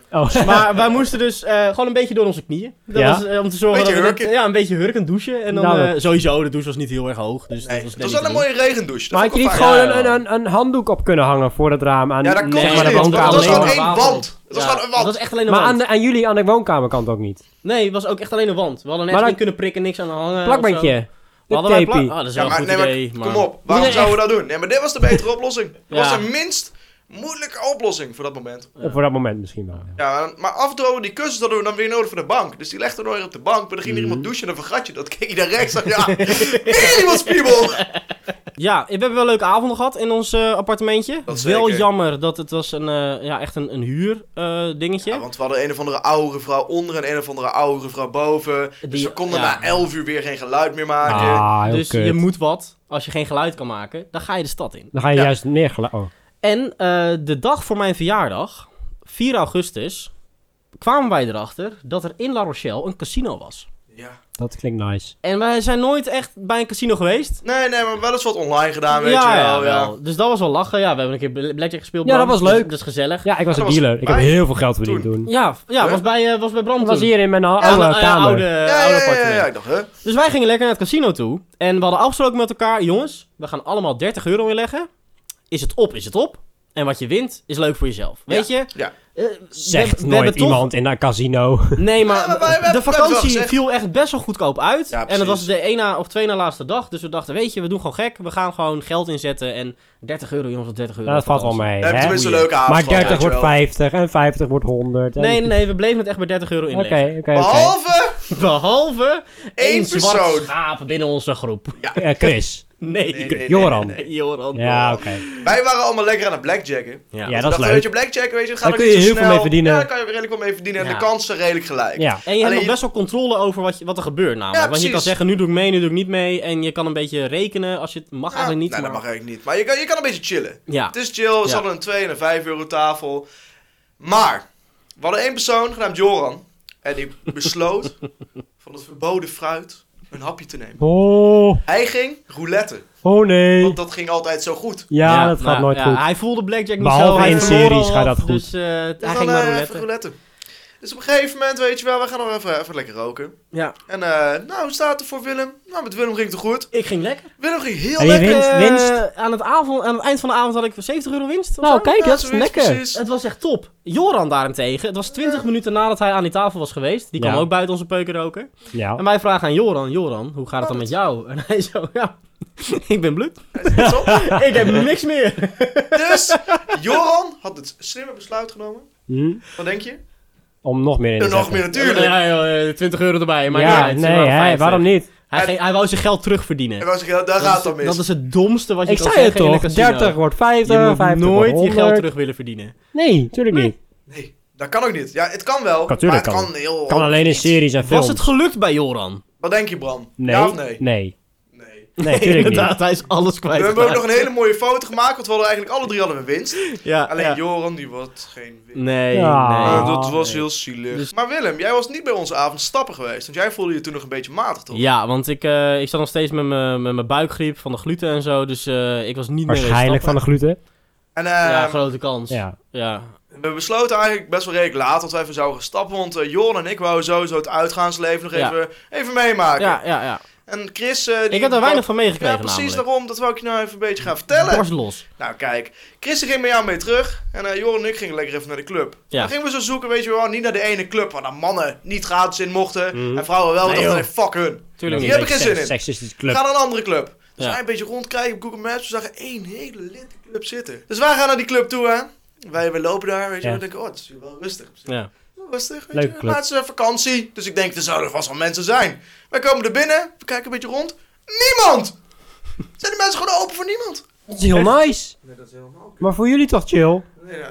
Speaker 2: Oh,
Speaker 1: Maar wij moesten dus eh, gewoon een beetje door onze knieën. Dat
Speaker 2: Ja.
Speaker 1: was, eh, om te zorgen
Speaker 4: Beetje
Speaker 1: dat we net-
Speaker 4: hurken.
Speaker 1: ja, een beetje hurken douchen. En dan
Speaker 2: Nou,
Speaker 1: eh,
Speaker 2: dat-
Speaker 1: sowieso, de douche was niet heel erg hoog. Dus
Speaker 4: Nee,
Speaker 1: dat was net
Speaker 4: het was
Speaker 1: niet
Speaker 4: wel een
Speaker 1: te
Speaker 4: mooie regendouche. Dat
Speaker 2: Maar had
Speaker 4: vond
Speaker 2: je
Speaker 4: ik
Speaker 2: niet
Speaker 4: wel
Speaker 1: fijn.
Speaker 2: gewoon een,
Speaker 1: Ja, ja.
Speaker 2: een, een handdoek op kunnen hangen voor het raam? Aan,
Speaker 4: fijn. Ja, dat
Speaker 1: Nee,
Speaker 4: kon dus
Speaker 1: maar de
Speaker 4: niet. want
Speaker 1: woonkamer
Speaker 4: Dat was gewoon
Speaker 1: alleen
Speaker 4: één
Speaker 1: maar
Speaker 4: wand. Dat was
Speaker 1: doen.
Speaker 4: gewoon een
Speaker 1: Ja, Dat was
Speaker 4: wand.
Speaker 1: echt alleen een
Speaker 2: Maar
Speaker 1: wand.
Speaker 2: aan, de- aan jullie, aan de woonkamerkant ook niet.
Speaker 1: Nee, het was ook echt alleen een wand. We hadden
Speaker 2: Maar
Speaker 1: net
Speaker 2: dan-
Speaker 1: niet kunnen prikken, niks aan de hangen. of zo.
Speaker 2: Plakbandje.
Speaker 1: We
Speaker 2: Dit
Speaker 1: hadden wij plak...
Speaker 2: tapie.
Speaker 1: Ah, dat is
Speaker 4: Ja,
Speaker 1: wel
Speaker 4: maar
Speaker 1: een
Speaker 4: nee,
Speaker 1: goed
Speaker 4: maar
Speaker 1: idee.
Speaker 4: kom
Speaker 1: maar-
Speaker 4: op. Waarom zouden we dat doen? Nee, maar dit was de betere oplossing. Dat was
Speaker 1: Ja.
Speaker 4: de minst moeilijke oplossing voor dat moment.
Speaker 2: Eh, Voor dat moment misschien wel. ja.
Speaker 4: Ja, maar afdrogen die kussens, dat doen we dan weer nodig voor de bank. Dus die legden we nooit op de bank. Maar dan ging
Speaker 1: Mhm.
Speaker 4: er iemand douchen en dan vergat je dat. Keek je naar rechts en ja, weer iemand spiebel.
Speaker 1: Ja, we hebben wel leuke avonden gehad in ons eh, appartementje.
Speaker 4: Dat
Speaker 1: wel
Speaker 4: zeker.
Speaker 1: jammer dat het was een, eh, ja, echt een, een huur eh, dingetje.
Speaker 4: Ja, want we hadden een of andere oudere vrouw onder en een of andere oudere vrouw boven. dus
Speaker 1: Die-
Speaker 4: we konden
Speaker 1: ja.
Speaker 4: na 11 uur weer geen geluid meer maken.
Speaker 2: Ah, heel
Speaker 1: dus
Speaker 2: kut.
Speaker 1: je moet wat. Als je geen geluid kan maken, dan ga je de stad in.
Speaker 2: Dan ga je
Speaker 4: Ja.
Speaker 2: juist neergelegd. Oh.
Speaker 1: En eh, de dag voor mijn verjaardag, 4 augustus, kwamen wij erachter dat er in La Rochelle een casino was.
Speaker 4: Ja.
Speaker 2: Dat klinkt nice.
Speaker 1: En wij zijn nooit echt bij een casino geweest.
Speaker 4: Nee, nee, maar wel eens wat online gedaan, weet je wel. Ja.
Speaker 1: wel. Dus dat was wel lachen. Ja, we hebben een keer bl- blackjack gespeeld.
Speaker 2: Ja,
Speaker 1: man.
Speaker 2: dat was
Speaker 1: Dus-
Speaker 2: leuk.
Speaker 1: Dat is gezellig. Ja,
Speaker 2: Ja, ik was
Speaker 4: Dat
Speaker 2: een
Speaker 4: was-
Speaker 2: dealer. Ik heb
Speaker 4: maar-
Speaker 2: heel veel geld verdiend toen.
Speaker 1: ja,
Speaker 4: Hè?
Speaker 1: was, bij, eh, was bij Bram
Speaker 2: Dat was
Speaker 1: toen.
Speaker 2: hier in mijn
Speaker 1: Ja,
Speaker 2: oude
Speaker 1: ja,
Speaker 2: kamer.
Speaker 1: oude,
Speaker 4: Ja,
Speaker 1: oude
Speaker 4: ja, ja, ja,
Speaker 1: appartement.
Speaker 4: ja. Ik dacht, hè?
Speaker 1: Dus wij gingen lekker naar het casino toe. En we hadden afgesproken met elkaar, jongens, we gaan allemaal 30 euro inleggen. Is het op, is het op. En wat je wint, is leuk voor jezelf. Weet je?
Speaker 4: ja.
Speaker 1: Eh, we-
Speaker 2: Zegt
Speaker 1: we
Speaker 2: nooit
Speaker 1: hebben toch-
Speaker 2: iemand in een casino.
Speaker 1: Nee, maar
Speaker 4: Ja, maar wij- wij-
Speaker 1: de
Speaker 4: we hebben wel
Speaker 1: vakantie
Speaker 4: gezegd.
Speaker 1: viel echt best wel goedkoop uit.
Speaker 4: Ja,
Speaker 1: en dat was
Speaker 4: precies.
Speaker 1: de ene of twee na laatste dag. Dus we dachten, weet je, we doen gewoon gek. We gaan gewoon geld inzetten. En 30 euro, jongens, of 30 euro.
Speaker 2: Nou, dat valt wel
Speaker 1: vakantie.
Speaker 2: mee.
Speaker 4: We hebben
Speaker 2: hè?
Speaker 4: tenminste een leuke avond
Speaker 2: Maar
Speaker 4: gehad,
Speaker 2: 30
Speaker 4: weet je
Speaker 2: wordt
Speaker 4: wel.
Speaker 2: 50 en 50 wordt 100. en-
Speaker 1: Nee, nee, nee. We bleven het echt bij 30 euro
Speaker 2: Oké,
Speaker 1: inleggen.
Speaker 2: oké, oké.
Speaker 4: Behalve,
Speaker 1: Behalve één
Speaker 4: Eén
Speaker 1: zwart
Speaker 4: persoon.
Speaker 1: schaap binnen onze groep.
Speaker 2: Eh, Chris.
Speaker 1: Nee,
Speaker 4: Nee, nee.
Speaker 2: Joran.
Speaker 1: Joran.
Speaker 2: Ja, oké.
Speaker 4: wij waren allemaal lekker aan het blackjacken.
Speaker 1: Ja.
Speaker 2: Ja,
Speaker 4: Dus
Speaker 2: dat is
Speaker 4: dachten, weet je,
Speaker 2: leuk.
Speaker 4: blackjacken, weet je, het gaat
Speaker 2: Daar
Speaker 4: ook
Speaker 2: kun
Speaker 4: niet
Speaker 2: je
Speaker 4: zo
Speaker 2: heel veel
Speaker 4: snel.
Speaker 2: mee verdienen.
Speaker 4: Ja, daar kan je redelijk wel mee verdienen. En
Speaker 1: Ja.
Speaker 4: de kansen redelijk gelijk.
Speaker 2: Ja.
Speaker 1: En je hebt
Speaker 4: Alleen
Speaker 1: nog
Speaker 4: je-
Speaker 1: best wel controle over wat, je, wat er gebeurt namelijk. Want je
Speaker 4: precies.
Speaker 1: kan zeggen, nu doe ik mee, nu doe ik niet mee. En je kan een beetje rekenen als je het mag
Speaker 4: Ja,
Speaker 1: eigenlijk niet.
Speaker 4: nee, dat
Speaker 1: maar-
Speaker 4: mag eigenlijk niet. Maar je kan, je kan een beetje chillen.
Speaker 1: Ja.
Speaker 4: Het is chill, we
Speaker 1: Ja.
Speaker 4: hadden een 2 en een 5 euro tafel. Maar, we hadden één persoon genaamd Joran. En die besloot van het verboden fruit een hapje te nemen.
Speaker 2: Oh,
Speaker 4: Hij ging roulette.
Speaker 2: oh nee.
Speaker 4: Want dat ging altijd zo goed.
Speaker 2: Ja,
Speaker 1: Ja,
Speaker 2: dat gaat
Speaker 1: nou,
Speaker 2: nooit
Speaker 1: ja,
Speaker 2: goed.
Speaker 1: Hij voelde Blackjack niet
Speaker 2: Behalve
Speaker 1: zo. hij
Speaker 4: in
Speaker 1: verloor
Speaker 2: series
Speaker 1: al
Speaker 2: gaat
Speaker 1: wat,
Speaker 2: dat goed.
Speaker 1: Dus eh,
Speaker 4: Dus
Speaker 1: hij
Speaker 4: dan
Speaker 1: ging naar
Speaker 4: eh,
Speaker 1: roulette.
Speaker 4: even roulette. Dus op een gegeven moment, weet je wel, we gaan nog even, even lekker roken.
Speaker 1: Ja.
Speaker 4: En eh, nou, hoe staat het voor Willem? Nou, met Willem ging het goed.
Speaker 1: Ik ging lekker.
Speaker 4: Willem ging heel
Speaker 2: En je
Speaker 4: lekker.
Speaker 2: wint- Winst,
Speaker 1: Eh,
Speaker 2: winst?
Speaker 1: Aan het, avond, aan het eind van de avond had ik 70 euro winst. of
Speaker 2: Nou,
Speaker 1: zo.
Speaker 2: kijk,
Speaker 4: Ja,
Speaker 2: dat is
Speaker 4: zoiets
Speaker 2: lekker.
Speaker 4: precies.
Speaker 1: Het was echt top. Joran daarentegen, het was 20 minuten nadat hij aan die tafel was geweest. Die kwam
Speaker 2: Ja.
Speaker 1: ook buiten onze peuken roken. En
Speaker 2: Ja.
Speaker 1: wij vragen aan Joran, Joran, hoe gaat het dan met jou? En hij zo, ja, ik ben blut.
Speaker 4: Zo.
Speaker 1: ik heb niks meer.
Speaker 4: Dus Joran had het slimme besluit genomen.
Speaker 2: Hm?
Speaker 4: Wat denk je?
Speaker 2: Om nog meer in te
Speaker 4: En nog
Speaker 2: zetten.
Speaker 4: meer natuurlijk.
Speaker 1: Ja, joh, eh, 20 euro erbij, maar
Speaker 2: Ja, nee, hè, waarom niet?
Speaker 1: Hij,
Speaker 4: En-
Speaker 1: ging- hij wou zijn geld terugverdienen.
Speaker 4: En was ik, ja, daar
Speaker 1: dat,
Speaker 4: gaat
Speaker 1: is,
Speaker 4: dan mis.
Speaker 1: dat is het domste wat je
Speaker 2: Ik
Speaker 1: kan
Speaker 2: zei het
Speaker 1: zeggen in een
Speaker 2: toch,
Speaker 1: casino.
Speaker 2: 30 wordt 50,
Speaker 1: je moet
Speaker 2: 50
Speaker 1: nooit
Speaker 2: wordt
Speaker 1: je geld
Speaker 2: 100.
Speaker 1: terug willen verdienen.
Speaker 2: Nee, tuurlijk niet.
Speaker 4: Nee, dat kan ook niet. Ja, het kan wel.
Speaker 2: Kan-
Speaker 4: maar
Speaker 2: tuurlijk
Speaker 4: het kan,
Speaker 2: kan.
Speaker 4: heel...
Speaker 2: Kan alleen in
Speaker 4: niet.
Speaker 2: series en films.
Speaker 1: Was het gelukt bij Joran?
Speaker 4: Wat denk je, Bram?
Speaker 2: Nee.
Speaker 4: Ja of nee?
Speaker 2: Nee.
Speaker 4: Nee.
Speaker 2: Nee, tuurlijk niet.
Speaker 1: Inderdaad, hij is alles
Speaker 4: We
Speaker 1: kwijt.
Speaker 4: hebben ook nog een hele mooie foto gemaakt, want we hadden eigenlijk alle drie hadden we winst.
Speaker 1: Ja,
Speaker 4: Alleen
Speaker 1: ja.
Speaker 4: Joran, die wordt geen winst.
Speaker 1: Nee,
Speaker 2: Ja.
Speaker 1: nee.
Speaker 4: Eh, dat was
Speaker 1: nee.
Speaker 4: heel zielig.
Speaker 2: Dus-
Speaker 4: Maar Willem, jij was niet bij onze avond stappen geweest, want jij voelde je toen nog een beetje matig, toch?
Speaker 1: Ja, want ik, eh, ik zat nog steeds met mijn met mijn buikgriep van de gluten en zo, dus eh, ik was niet
Speaker 2: Waarschijnlijk van
Speaker 1: meer
Speaker 2: de gluten.
Speaker 4: En eh,
Speaker 1: Ja, grote kans. Ja.
Speaker 2: Ja.
Speaker 4: we besloten eigenlijk best wel redelijk laat dat we even zouden gaan stappen, want eh, Joran en ik wouden sowieso het uitgaansleven nog
Speaker 1: Ja.
Speaker 4: even, even meemaken.
Speaker 1: ja, ja, ja.
Speaker 4: En Chris... eh, die
Speaker 1: Ik heb daar
Speaker 4: wou-
Speaker 1: weinig van meegekregen
Speaker 4: Ja, precies
Speaker 1: namelijk.
Speaker 4: daarom. Dat wou ik je nou even een beetje gaan vertellen.
Speaker 1: Dwars los.
Speaker 4: Nou, kijk. Chris ging met jou mee terug. En eh Joran en ik gingen lekker even naar de club.
Speaker 1: Ja.
Speaker 4: Dan gingen we zo zoeken, weet je wel, niet naar de ene club waar dan mannen niet gratis in mochten.
Speaker 1: Mhm.
Speaker 4: En vrouwen wel,
Speaker 1: Nee,
Speaker 4: want dachten,
Speaker 1: joh.
Speaker 4: nee, fuck hun.
Speaker 1: Tuurlijk
Speaker 4: Die
Speaker 1: niet.
Speaker 4: heb ik geen zin in.
Speaker 2: Seksistische club.
Speaker 4: Ga naar een andere club. Dus
Speaker 1: Ja.
Speaker 4: wij een beetje rondkijken op Google Maps. We zagen één hele lente club zitten. Dus wij gaan naar die club toe, hè. Wij, wij lopen daar, weet je
Speaker 2: Ja.
Speaker 4: wel. We denken, oh, het is hier wel rustig.
Speaker 1: Ja.
Speaker 4: Rustig, weet
Speaker 2: Leuke
Speaker 4: je.
Speaker 2: club.
Speaker 4: Maar het is eh, vakantie, dus ik denk, er zouden vast wel mensen zijn. Wij komen er binnen, we kijken een beetje rond. Niemand! Zijn die mensen gewoon open voor niemand?
Speaker 2: Dat is heel nice.
Speaker 4: Nee, dat is helemaal...
Speaker 2: Maar voor jullie toch chill?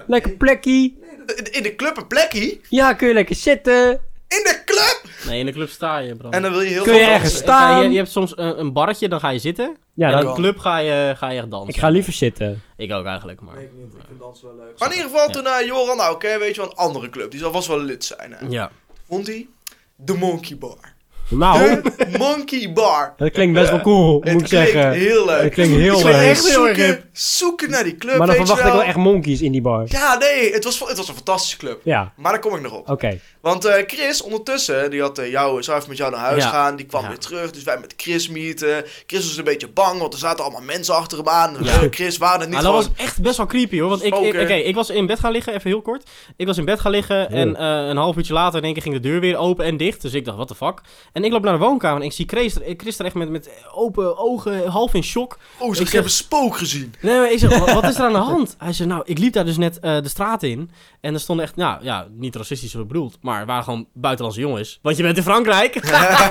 Speaker 2: Lekker plekkie.
Speaker 4: In in de club een plekje.
Speaker 2: Ja, kun je lekker zitten.
Speaker 4: In de club!
Speaker 1: Nee, in de club sta je, Bram.
Speaker 4: En dan wil je heel
Speaker 2: Kun
Speaker 4: veel
Speaker 2: je
Speaker 4: dansen.
Speaker 2: ergens-
Speaker 1: Ik ga- je,
Speaker 2: staan.
Speaker 1: je hebt soms een, een barretje, dan ga je zitten.
Speaker 2: Ja,
Speaker 1: en
Speaker 2: dan,
Speaker 1: in de club ga je, ga je echt dansen.
Speaker 2: ik ga liever zitten.
Speaker 1: Ik ook eigenlijk, maar...
Speaker 4: Maar in ieder geval, toen naar Joran, nou oké, weet je wel, een andere club. Die zal vast wel lid zijn. Hè.
Speaker 1: Ja.
Speaker 4: Vond hij? De Monkey Bar.
Speaker 2: Nou,
Speaker 4: De Monkey Bar.
Speaker 2: dat klinkt best wel cool,
Speaker 4: Het
Speaker 2: moet ik
Speaker 4: klinkt
Speaker 2: zeggen.
Speaker 4: heel leuk.
Speaker 2: Het klinkt heel
Speaker 4: Ik
Speaker 2: leuk.
Speaker 4: ging echt
Speaker 1: Heel erg
Speaker 4: zoeken, zoeken naar die club,
Speaker 2: Maar dan
Speaker 4: weet je
Speaker 2: verwacht ik
Speaker 4: wel.
Speaker 2: wel echt monkeys in die bar.
Speaker 4: Ja, nee, het was, het was een fantastische club.
Speaker 2: Ja,
Speaker 4: Maar daar kom ik nog op.
Speaker 2: oké.
Speaker 4: Want eh, Chris, ondertussen, die had eh, jou, zou even met jou naar huis
Speaker 1: Ja.
Speaker 4: gaan. Die kwam
Speaker 1: Ja.
Speaker 4: weer terug, dus wij met Chris meeten. Chris was een beetje bang, want er zaten allemaal mensen achter hem aan.
Speaker 1: Ja.
Speaker 4: Eh, Chris, waren het niet
Speaker 1: Maar Nou, dat
Speaker 4: gewoon...
Speaker 1: was echt best wel creepy hoor. Want ik, ik,
Speaker 4: Spoken.
Speaker 1: oké, ik was in bed gaan liggen, even heel kort. Ik was in bed gaan liggen en eh, een half uurtje later in één keer ging de deur weer open en dicht. Dus ik dacht, what the fuck. En ik loop naar de woonkamer en ik zie Chris er, Chris er echt met, met open ogen, half in shock.
Speaker 4: Oh,
Speaker 1: Ik
Speaker 4: ze ik
Speaker 1: zeg-
Speaker 4: heb een spook gezien.
Speaker 1: Nee, maar ik zeg, wat, wat is er aan de hand? Hij zei, nou, ik liep daar dus net eh, de straat in. En er stonden echt, nou ja, niet racistisch bedoeld, maar het waren gewoon buitenlandse jongens. Want je bent in Frankrijk.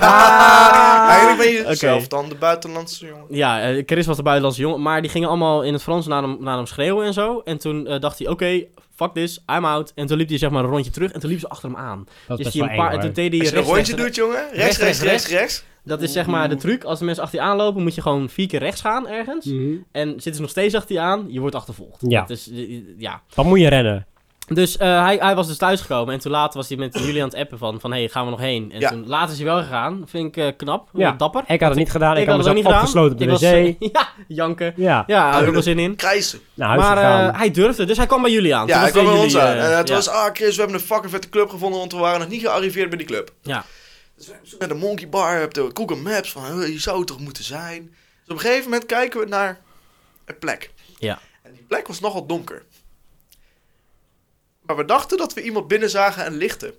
Speaker 2: Ah.
Speaker 4: Eigenlijk ben je
Speaker 1: Oké.
Speaker 4: zelf dan de buitenlandse jongen.
Speaker 1: ja, eh, Chris was de buitenlandse jongen, maar die gingen allemaal in het Frans naar hem, naar hem schreeuwen en zo. En toen eh, dacht hij, oké, fuck this, I'm out. En toen liep hij zeg maar een rondje terug en toen liep ze achter hem aan.
Speaker 2: Dat
Speaker 1: Dus
Speaker 2: is best
Speaker 1: die
Speaker 2: wel
Speaker 1: een paar,
Speaker 2: eng,
Speaker 1: en toen
Speaker 2: hoor.
Speaker 1: deed hij
Speaker 4: Als je een
Speaker 1: rechts,
Speaker 4: rondje
Speaker 1: rechts,
Speaker 4: doet, jongen.
Speaker 1: Rechts,
Speaker 4: Rechts, rechts,
Speaker 1: rechts,
Speaker 4: rechts, rechts.
Speaker 1: Dat is zeg maar de truc. Als de mensen achter je aanlopen, moet je gewoon vier keer rechts gaan ergens.
Speaker 2: Mhm.
Speaker 1: En zitten ze nog steeds achter je aan, je wordt achtervolgd.
Speaker 2: Ja.
Speaker 1: Dat is, eh, eh, ja.
Speaker 2: Dan moet je rennen.
Speaker 1: Dus eh, hij, hij was dus thuisgekomen en toen later was hij met jullie aan het appen van, van hey, gaan we nog heen? En
Speaker 4: Ja.
Speaker 1: toen later is hij wel gegaan. Vind ik eh, knap,
Speaker 2: Ja.
Speaker 1: eh, dapper.
Speaker 2: Ik had het niet gedaan, ik, had
Speaker 1: het ook
Speaker 2: mezelf opgesloten op de
Speaker 1: Ik
Speaker 2: wc.
Speaker 1: was, eh, ja, janken.
Speaker 2: Ja,
Speaker 1: Ja, daar had ik ook wel
Speaker 4: Huilen.
Speaker 1: zin in.
Speaker 4: Krijzen.
Speaker 2: naar huis
Speaker 1: Maar
Speaker 2: gegaan.
Speaker 1: eh, hij durfde, dus hij kwam bij jullie aan.
Speaker 4: Ja,
Speaker 1: Toen
Speaker 4: hij
Speaker 1: was
Speaker 4: kwam bij
Speaker 1: jullie,
Speaker 4: ons aan.
Speaker 1: eh,
Speaker 4: En het
Speaker 1: ja.
Speaker 4: was, ah Chris, we hebben een fucking vette club gevonden, want we waren nog niet gearriveerd bij die club.
Speaker 1: Ja.
Speaker 4: Dus we hebben zoek naar de Monkey Bar, op de Google Maps, van eh, hier zou het toch moeten zijn. Dus op een gegeven moment kijken we naar een plek.
Speaker 1: Ja.
Speaker 4: En die plek was nogal donker. Maar we dachten dat we iemand binnen zagen en lichten.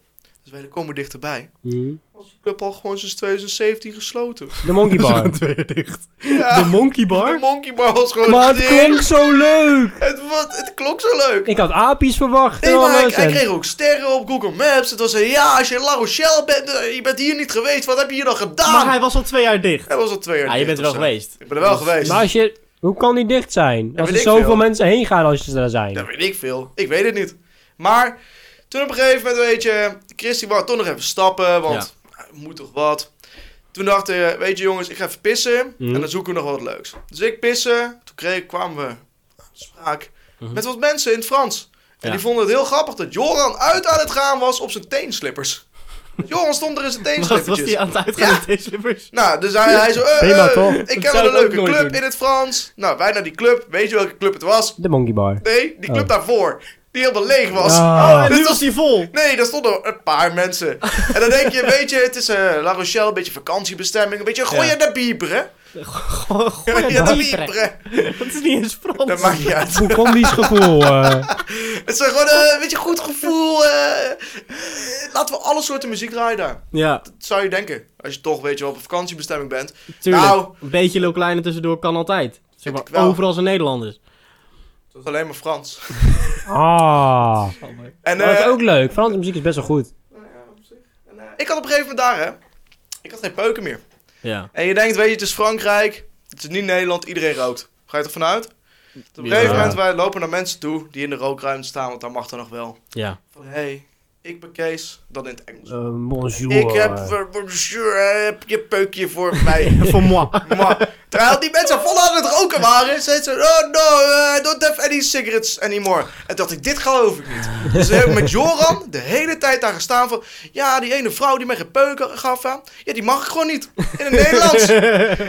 Speaker 4: Dus wij komen dichterbij.
Speaker 1: eh,
Speaker 2: Mhm.
Speaker 4: Was de club al gewoon sinds 2017 gesloten.
Speaker 2: De monkey bar.
Speaker 4: Ja.
Speaker 1: De monkey
Speaker 4: De
Speaker 1: bar?
Speaker 4: Monkey Bar was gewoon
Speaker 2: maar het
Speaker 4: dicht.
Speaker 2: klonk zo leuk!
Speaker 4: Het, wat, het klonk zo leuk.
Speaker 2: Ik had apies verwacht en
Speaker 4: Nee, maar hij,
Speaker 2: alles.
Speaker 4: hij
Speaker 2: en-
Speaker 4: kreeg ook sterren op Google Maps. Het was een ja, als je in La Rochelle bent, eh, je bent hier niet geweest, wat heb je hier dan gedaan?
Speaker 1: Maar hij was al twee jaar dicht.
Speaker 4: Hij was al twee jaar
Speaker 1: Ja, Ah, je
Speaker 4: dicht
Speaker 1: bent er wel
Speaker 4: of zo.
Speaker 1: geweest.
Speaker 4: Ik ben er wel geweest.
Speaker 2: Maar als je... Hoe kan die dicht zijn? Als er
Speaker 4: weet ik
Speaker 2: zoveel
Speaker 4: veel.
Speaker 2: mensen heen gaan als je daar zijn.
Speaker 4: Dat weet ik veel. Ik weet het niet. Maar toen op een gegeven moment, weet je, Christy wou toch nog even stappen, want nou, moet toch wat. Toen dacht hij, weet je jongens, ik ga even pissen
Speaker 2: Mhm.
Speaker 4: en dan zoeken we nog wat leuks. Dus ik pissen, toen kreeg, kwamen we aan spraak
Speaker 1: Mhm.
Speaker 4: met wat mensen in het Frans. En
Speaker 1: Ja.
Speaker 4: die vonden het heel grappig dat Joran uit aan het gaan was op zijn teenslippers. Joran stond er in zijn
Speaker 1: Was, was
Speaker 4: teenslippertjes.
Speaker 1: die aan het uitgaan
Speaker 4: Ja.
Speaker 1: met deze slippers?
Speaker 4: Nou, dus hij, hij zo, eh,
Speaker 2: Prima,
Speaker 4: eh,
Speaker 2: toch?
Speaker 4: ik
Speaker 1: Dat
Speaker 4: ken
Speaker 1: zou
Speaker 4: wel
Speaker 1: ik
Speaker 4: een
Speaker 1: ook
Speaker 4: leuke
Speaker 1: nooit
Speaker 4: club
Speaker 1: doen.
Speaker 4: in het Frans. Nou, wij naar die club. Weet je welke club het was?
Speaker 2: De monkey bar.
Speaker 4: Nee, die club
Speaker 2: Oh.
Speaker 4: daarvoor. Die helemaal leeg was.
Speaker 2: Ah.
Speaker 1: Oh, En
Speaker 4: Dit
Speaker 1: nu
Speaker 4: was-
Speaker 1: was hij vol.
Speaker 4: Nee, daar stonden een paar mensen. En dan denk je, weet je, het is eh La Rochelle, een beetje vakantiebestemming, een beetje gooi
Speaker 1: Ja.
Speaker 4: je de bieber, hè?
Speaker 1: Goh, goh,
Speaker 4: Gooi
Speaker 1: ja,
Speaker 4: je de
Speaker 1: dat,
Speaker 4: bieber, hè?
Speaker 1: dat is niet eens Frans.
Speaker 4: Dat maakt niet uit.
Speaker 2: Hoe kwam die gevoel? eh?
Speaker 4: Het is gewoon eh, een beetje goed gevoel. eh. Eh, laten we alle soorten muziek draaien daar.
Speaker 1: Ja,
Speaker 4: Dat zou je denken, als je toch, weet je, wel, op een vakantiebestemming bent.
Speaker 1: tuurlijk.
Speaker 4: Nou.
Speaker 1: een beetje Lil Kleine tussendoor kan altijd. Zeg
Speaker 4: Ik
Speaker 1: maar,
Speaker 4: wel.
Speaker 1: overal zijn Nederlanders.
Speaker 4: Dat is alleen maar Frans.
Speaker 2: Ah.
Speaker 4: En,
Speaker 2: Maar dat is
Speaker 4: eh,
Speaker 2: ook leuk. Franse muziek is best wel goed.
Speaker 4: Ik had op een gegeven moment daar, hè. Ik had geen peuken meer.
Speaker 1: Ja.
Speaker 4: En je denkt, weet je, het is Frankrijk, het is niet Nederland, iedereen rood. Ga je er vanuit? Op een
Speaker 1: Ja.
Speaker 4: gegeven moment, wij lopen naar mensen toe die in de rookruimte staan, want daar mag dan nog wel.
Speaker 1: Ja.
Speaker 4: Van, hé, hey, ik ben Kees, dan in het Engels.
Speaker 2: Eh, bonjour.
Speaker 4: ik heb, voor- voor- sure, heb je peukje voor mij.
Speaker 1: Voor moi.
Speaker 4: Maar, terwijl die mensen vol aan het roken waren, zeiden ze, oh no, eh, I don't have any cigarettes anymore. En dacht ik, dit geloof ik niet. Dus we hebben met Joran de hele tijd daar gestaan van, ja, die ene vrouw die mij gepeuken gaf, hè, ja, die mag ik gewoon niet. In het Nederlands.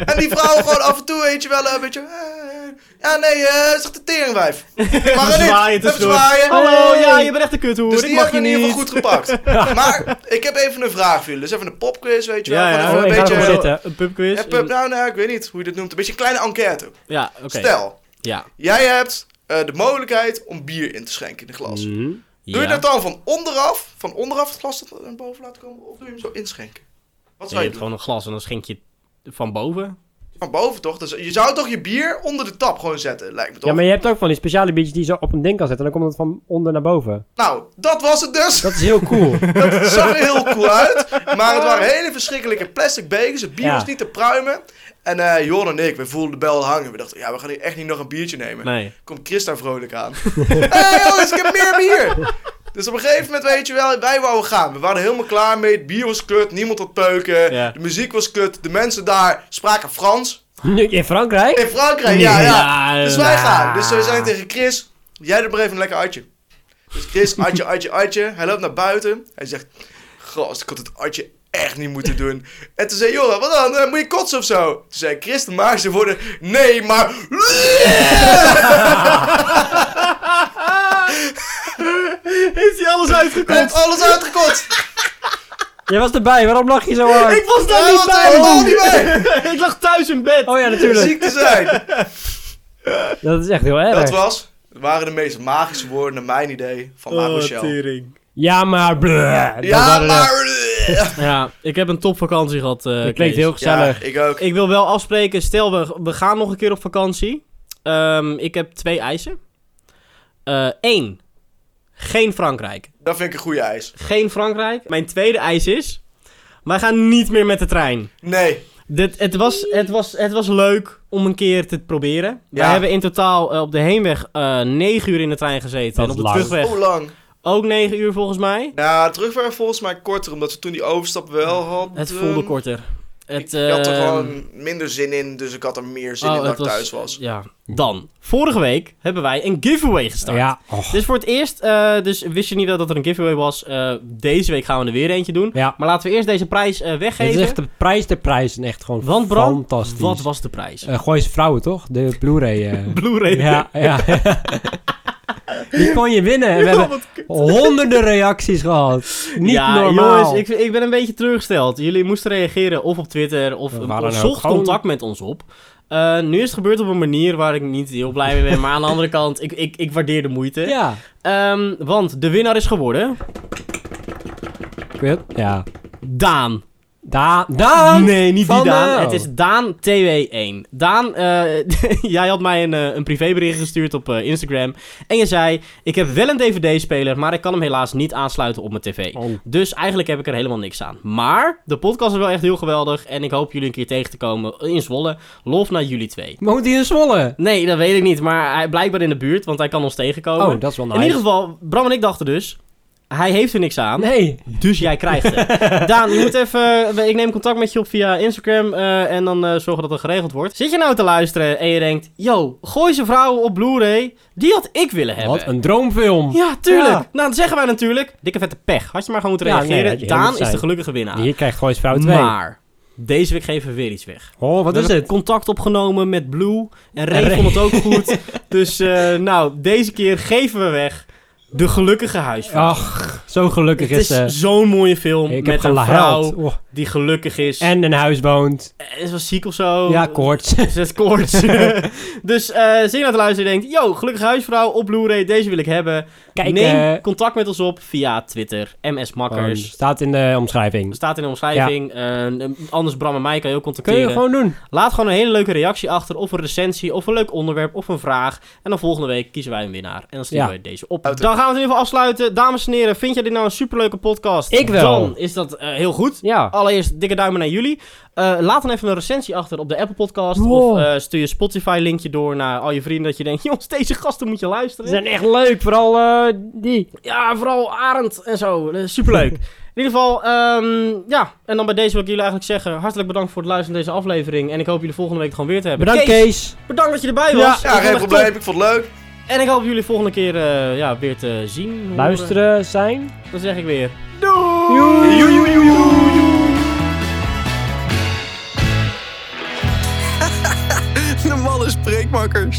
Speaker 4: en die vrouw gewoon af en toe, weet je wel, een beetje, eh, ja, nee, eh zegt de teringwijf. Maar niet,
Speaker 1: Zwaaien
Speaker 4: even
Speaker 1: tussendoor.
Speaker 4: zwaaien.
Speaker 1: Hallo,
Speaker 2: Hey.
Speaker 1: ja, je bent echt een kuthoer.
Speaker 4: Dus
Speaker 1: ik
Speaker 4: die
Speaker 1: mag je
Speaker 4: hebben we in
Speaker 1: niet.
Speaker 4: ieder geval goed gepakt. Maar ik heb even een vraag voor jullie. Dus even een popquiz, weet je wel.
Speaker 1: Ja,
Speaker 4: gewoon
Speaker 1: ja.
Speaker 4: even
Speaker 2: ik ga
Speaker 4: een
Speaker 2: ervoor
Speaker 4: beetje...
Speaker 2: zitten.
Speaker 1: Een pubquiz.
Speaker 4: Ja, pub- nou, nou, ik weet niet hoe je dit noemt. Een beetje een kleine enquête.
Speaker 1: Ja, oké.
Speaker 4: Stel,
Speaker 1: Ja.
Speaker 4: jij hebt eh, de mogelijkheid om bier in te schenken in een glas.
Speaker 2: Mhm.
Speaker 4: Doe je
Speaker 1: Mm, Ja.
Speaker 4: dat dan van onderaf, van onderaf het glas naar boven laten komen, of doe je hem zo inschenken? Wat
Speaker 1: Nee,
Speaker 4: zou
Speaker 1: je
Speaker 4: je
Speaker 1: hebt
Speaker 4: doen?
Speaker 1: gewoon een glas en dan schenk je van boven.
Speaker 4: Van boven toch? Dus je zou toch je bier onder de tap gewoon zetten, lijkt me toch?
Speaker 2: Ja, maar je hebt ook van die speciale biertjes die je zo op een ding kan zetten. En dan komt het van onder naar boven.
Speaker 4: Nou, dat was het dus.
Speaker 2: Dat is heel cool.
Speaker 4: Dat zag er heel cool uit. Maar het
Speaker 1: Ah.
Speaker 4: waren hele verschrikkelijke plastic bekers. Het bier
Speaker 2: Ja.
Speaker 4: was niet te pruimen. En eh Jon en ik, we voelden de bel hangen. We dachten, ja, we gaan hier echt niet nog een biertje nemen.
Speaker 1: Nee.
Speaker 4: komt Chris daar vrolijk aan. Hé hey, jongens, ik heb meer bier! Dus op een gegeven moment weet je wel, wij wouden gaan. We waren helemaal klaar mee. Het bier was kut, niemand had peuken.
Speaker 1: Ja.
Speaker 4: De muziek was kut. De mensen daar spraken Frans.
Speaker 2: Nu in Frankrijk?
Speaker 4: In Frankrijk, ja, ja. Dus wij
Speaker 2: nou.
Speaker 4: gaan. Dus we zijn tegen Chris, jij doet maar even een lekker atje. Dus Chris, atje, atje, atje. Hij loopt naar buiten. Hij zegt, gast, ik had het atje echt niet moeten doen. En toen zei Joran, wat dan? Eh, Moet je kotsen of zo? Toen zei Chris, de maagse worden, nee, maar...
Speaker 1: Heeft hij alles uitgekomen?
Speaker 4: Komt alles uitgekotst!
Speaker 2: Jij was erbij, waarom lach je zo hard?
Speaker 1: ik was daar
Speaker 4: Hij
Speaker 1: niet
Speaker 4: was daar helemaal
Speaker 1: bij!
Speaker 4: niet bij!
Speaker 1: ik lag thuis in bed.
Speaker 2: Oh ja, natuurlijk.
Speaker 4: Ziek te zijn!
Speaker 2: Dat is echt heel erg.
Speaker 4: Dat was, waren de meest magische woorden, naar mijn idee, van La Rochelle.
Speaker 1: Oh, tering.
Speaker 2: Ja, maar bleh. Oh, Dat
Speaker 4: Ja,
Speaker 2: waren de-
Speaker 4: maar...
Speaker 1: Ja, ik heb een topvakantie gehad. eh
Speaker 2: Dat
Speaker 1: Kees.
Speaker 2: klinkt heel
Speaker 4: Ja,
Speaker 2: gezellig.
Speaker 4: ik ook.
Speaker 1: Ik wil wel afspreken, stel we, we gaan nog een keer op vakantie. Ehm, ik heb twee eisen. Eén, geen Frankrijk.
Speaker 4: Dat vind ik een goede eis.
Speaker 1: Geen Frankrijk. Mijn tweede eis is, wij gaan niet meer met de trein.
Speaker 4: Nee.
Speaker 1: Dit, het, was, het, was, het was leuk om een keer te proberen. We
Speaker 4: Ja.
Speaker 1: hebben in totaal eh, op de heenweg eh 9 uur in de trein gezeten.
Speaker 2: Dat
Speaker 1: en op de
Speaker 2: is lang.
Speaker 1: terugweg
Speaker 4: Hoe lang?
Speaker 1: ook 9 uur volgens mij.
Speaker 4: Nou, terug waren volgens mij korter, omdat we toen die overstap wel hadden.
Speaker 1: Het voelde korter. Het,
Speaker 4: Het, eh, ik had er
Speaker 1: ehm,
Speaker 4: gewoon minder zin in, dus ik had er meer zin
Speaker 1: oh,
Speaker 4: in dat
Speaker 1: het
Speaker 4: ik thuis was.
Speaker 1: Ja. Dan, vorige week hebben wij een giveaway gestart.
Speaker 2: Ja. Och.
Speaker 1: Dus voor het eerst, eh, dus wist je niet wel dat er een giveaway was. Eh, deze week gaan we er weer eentje doen.
Speaker 2: Ja.
Speaker 1: Maar laten we eerst deze prijs eh,
Speaker 2: Dit
Speaker 1: weggeven.
Speaker 2: is echt de prijs der prijzen. Echt gewoon
Speaker 1: Want Bram,
Speaker 2: fantastisch.
Speaker 1: Wat was de prijs?
Speaker 2: Eh, gooi eens vrouwen, toch? De Blu-ray. eh.
Speaker 1: Blu-ray.
Speaker 2: Ja, ja. Die kon je winnen. En we hebben honderden reacties gehad. Niet
Speaker 1: ja,
Speaker 2: normaal.
Speaker 1: jongens, ik, ik ben een beetje teleurgesteld. Jullie moesten reageren of op Twitter of
Speaker 2: We waren er
Speaker 1: zocht
Speaker 2: ook gewoon-
Speaker 1: contact met ons op. Eh, nu is het gebeurd op een manier waar ik niet heel blij mee ben. Maar aan de andere kant, ik, ik, ik waardeer de moeite.
Speaker 2: Ja.
Speaker 1: Ehm, want de winnaar is geworden...
Speaker 2: Ik weet het. Ja.
Speaker 1: Daan.
Speaker 2: Da Daan!
Speaker 1: Nee, niet die
Speaker 2: Van
Speaker 1: Daan.
Speaker 2: nou.
Speaker 1: Het is Daan TW1. Daan, eh, jij had mij een, eh, een privébericht gestuurd op eh, Instagram. En je zei, ik heb wel een DVD-speler, maar ik kan hem helaas niet aansluiten op mijn tv.
Speaker 2: Oh.
Speaker 1: Dus eigenlijk heb ik er helemaal niks aan. Maar de podcast is wel echt heel geweldig. En ik hoop jullie een keer tegen te komen in Zwolle. Lof naar jullie twee.
Speaker 2: Maar moet hij in Zwolle?
Speaker 1: Nee, dat weet ik niet. Maar hij blijkbaar in de buurt, want hij kan ons tegenkomen.
Speaker 2: Oh, dat is wel nice.
Speaker 1: in ieder geval, Bram en ik dachten dus... Hij heeft er niks aan.
Speaker 2: Nee.
Speaker 1: Dus jij krijgt het. Daan, je moet even. eh, Ik neem contact met je op via Instagram. eh, en dan eh, zorgen dat er geregeld wordt. Zit je nou te luisteren en je denkt. Yo, gooi ze vrouwen op Blu-ray. Die had ik willen hebben.
Speaker 2: Wat een droomfilm.
Speaker 1: Ja, tuurlijk.
Speaker 2: Ja.
Speaker 1: Nou, dat zeggen wij natuurlijk. Dikke vette pech. Had je maar gewoon moeten
Speaker 2: Ja, nee,
Speaker 1: reageren.
Speaker 2: had je eerlijk
Speaker 1: Daan
Speaker 2: zijn.
Speaker 1: is de gelukkige winnaar.
Speaker 2: Hier krijgt gewoon eens vrouwen 2.
Speaker 1: maar. Deze week geven we weer iets weg.
Speaker 2: Oh, wat
Speaker 1: we
Speaker 2: is
Speaker 1: hebben
Speaker 2: het?
Speaker 1: contact opgenomen met Blue. En Ray
Speaker 2: Ray.
Speaker 1: vond het ook goed. dus eh, nou, deze keer geven we weg de gelukkige huisvrouw.
Speaker 2: Ach, zo gelukkig
Speaker 1: het is
Speaker 2: is ze.
Speaker 1: zo'n mooie film
Speaker 2: Ik heb
Speaker 1: met een vrouw
Speaker 2: gehuild. Oh,
Speaker 1: die gelukkig is. En
Speaker 2: En een huis woont.
Speaker 1: is wel ziek of zo.
Speaker 2: Ja, koorts.
Speaker 1: Is het koorts. dus eh zin aan het luisteren en denkt, yo, gelukkige huisvrouw op Blu-ray, deze wil ik hebben.
Speaker 2: Kijk,
Speaker 1: Neem
Speaker 2: eh,
Speaker 1: contact met ons op via Twitter, MS
Speaker 2: gewoon,
Speaker 1: Makkers.
Speaker 2: staat in de omschrijving.
Speaker 1: Staat in de omschrijving. Eh, anders Bram en mij kan je ook
Speaker 2: Kun je
Speaker 1: contacteren.
Speaker 2: gewoon doen.
Speaker 1: Laat gewoon een hele leuke reactie achter. Of een recensie, of een leuk onderwerp, of een vraag. En dan volgende week kiezen wij een winnaar. En dan sturen
Speaker 2: Ja.
Speaker 1: wij deze op.
Speaker 4: Uiteraard.
Speaker 1: Dag gaan we het in ieder geval afsluiten. Dames en heren, vind jij dit nou een superleuke podcast?
Speaker 2: Ik wel.
Speaker 1: Dan is dat eh, heel goed.
Speaker 2: Ja.
Speaker 1: Allereerst dikke duimen naar jullie. Eh, laat dan even een recensie achter op de Apple Podcast.
Speaker 2: Wow.
Speaker 1: Of eh, stuur je Spotify-linkje door naar al je vrienden. Dat je denkt, jongens, deze gasten moet je
Speaker 2: Ze
Speaker 1: luisteren.
Speaker 2: zijn echt leuk, vooral eh, die.
Speaker 1: Ja, vooral Arend en zo. Eh, Superleuk. In ieder geval, ehm, ja. En dan bij deze wil ik jullie eigenlijk zeggen... hartelijk bedankt voor het luisteren naar deze aflevering. En ik hoop jullie volgende week gewoon weer te hebben.
Speaker 2: Bedankt,
Speaker 1: Kees,
Speaker 2: Kees.
Speaker 1: Bedankt dat je erbij was.
Speaker 2: Ja.
Speaker 1: Ik vond
Speaker 4: Ja,
Speaker 1: het
Speaker 4: geen
Speaker 1: echt
Speaker 4: probleem.
Speaker 1: top.
Speaker 4: Ik vond het leuk.
Speaker 1: En ik hoop jullie volgende keer eh, ja, weer te zien. horen.
Speaker 2: Luisteren zijn.
Speaker 1: Dat zeg ik weer.
Speaker 2: Joe.
Speaker 3: De mannen spreekmakkers.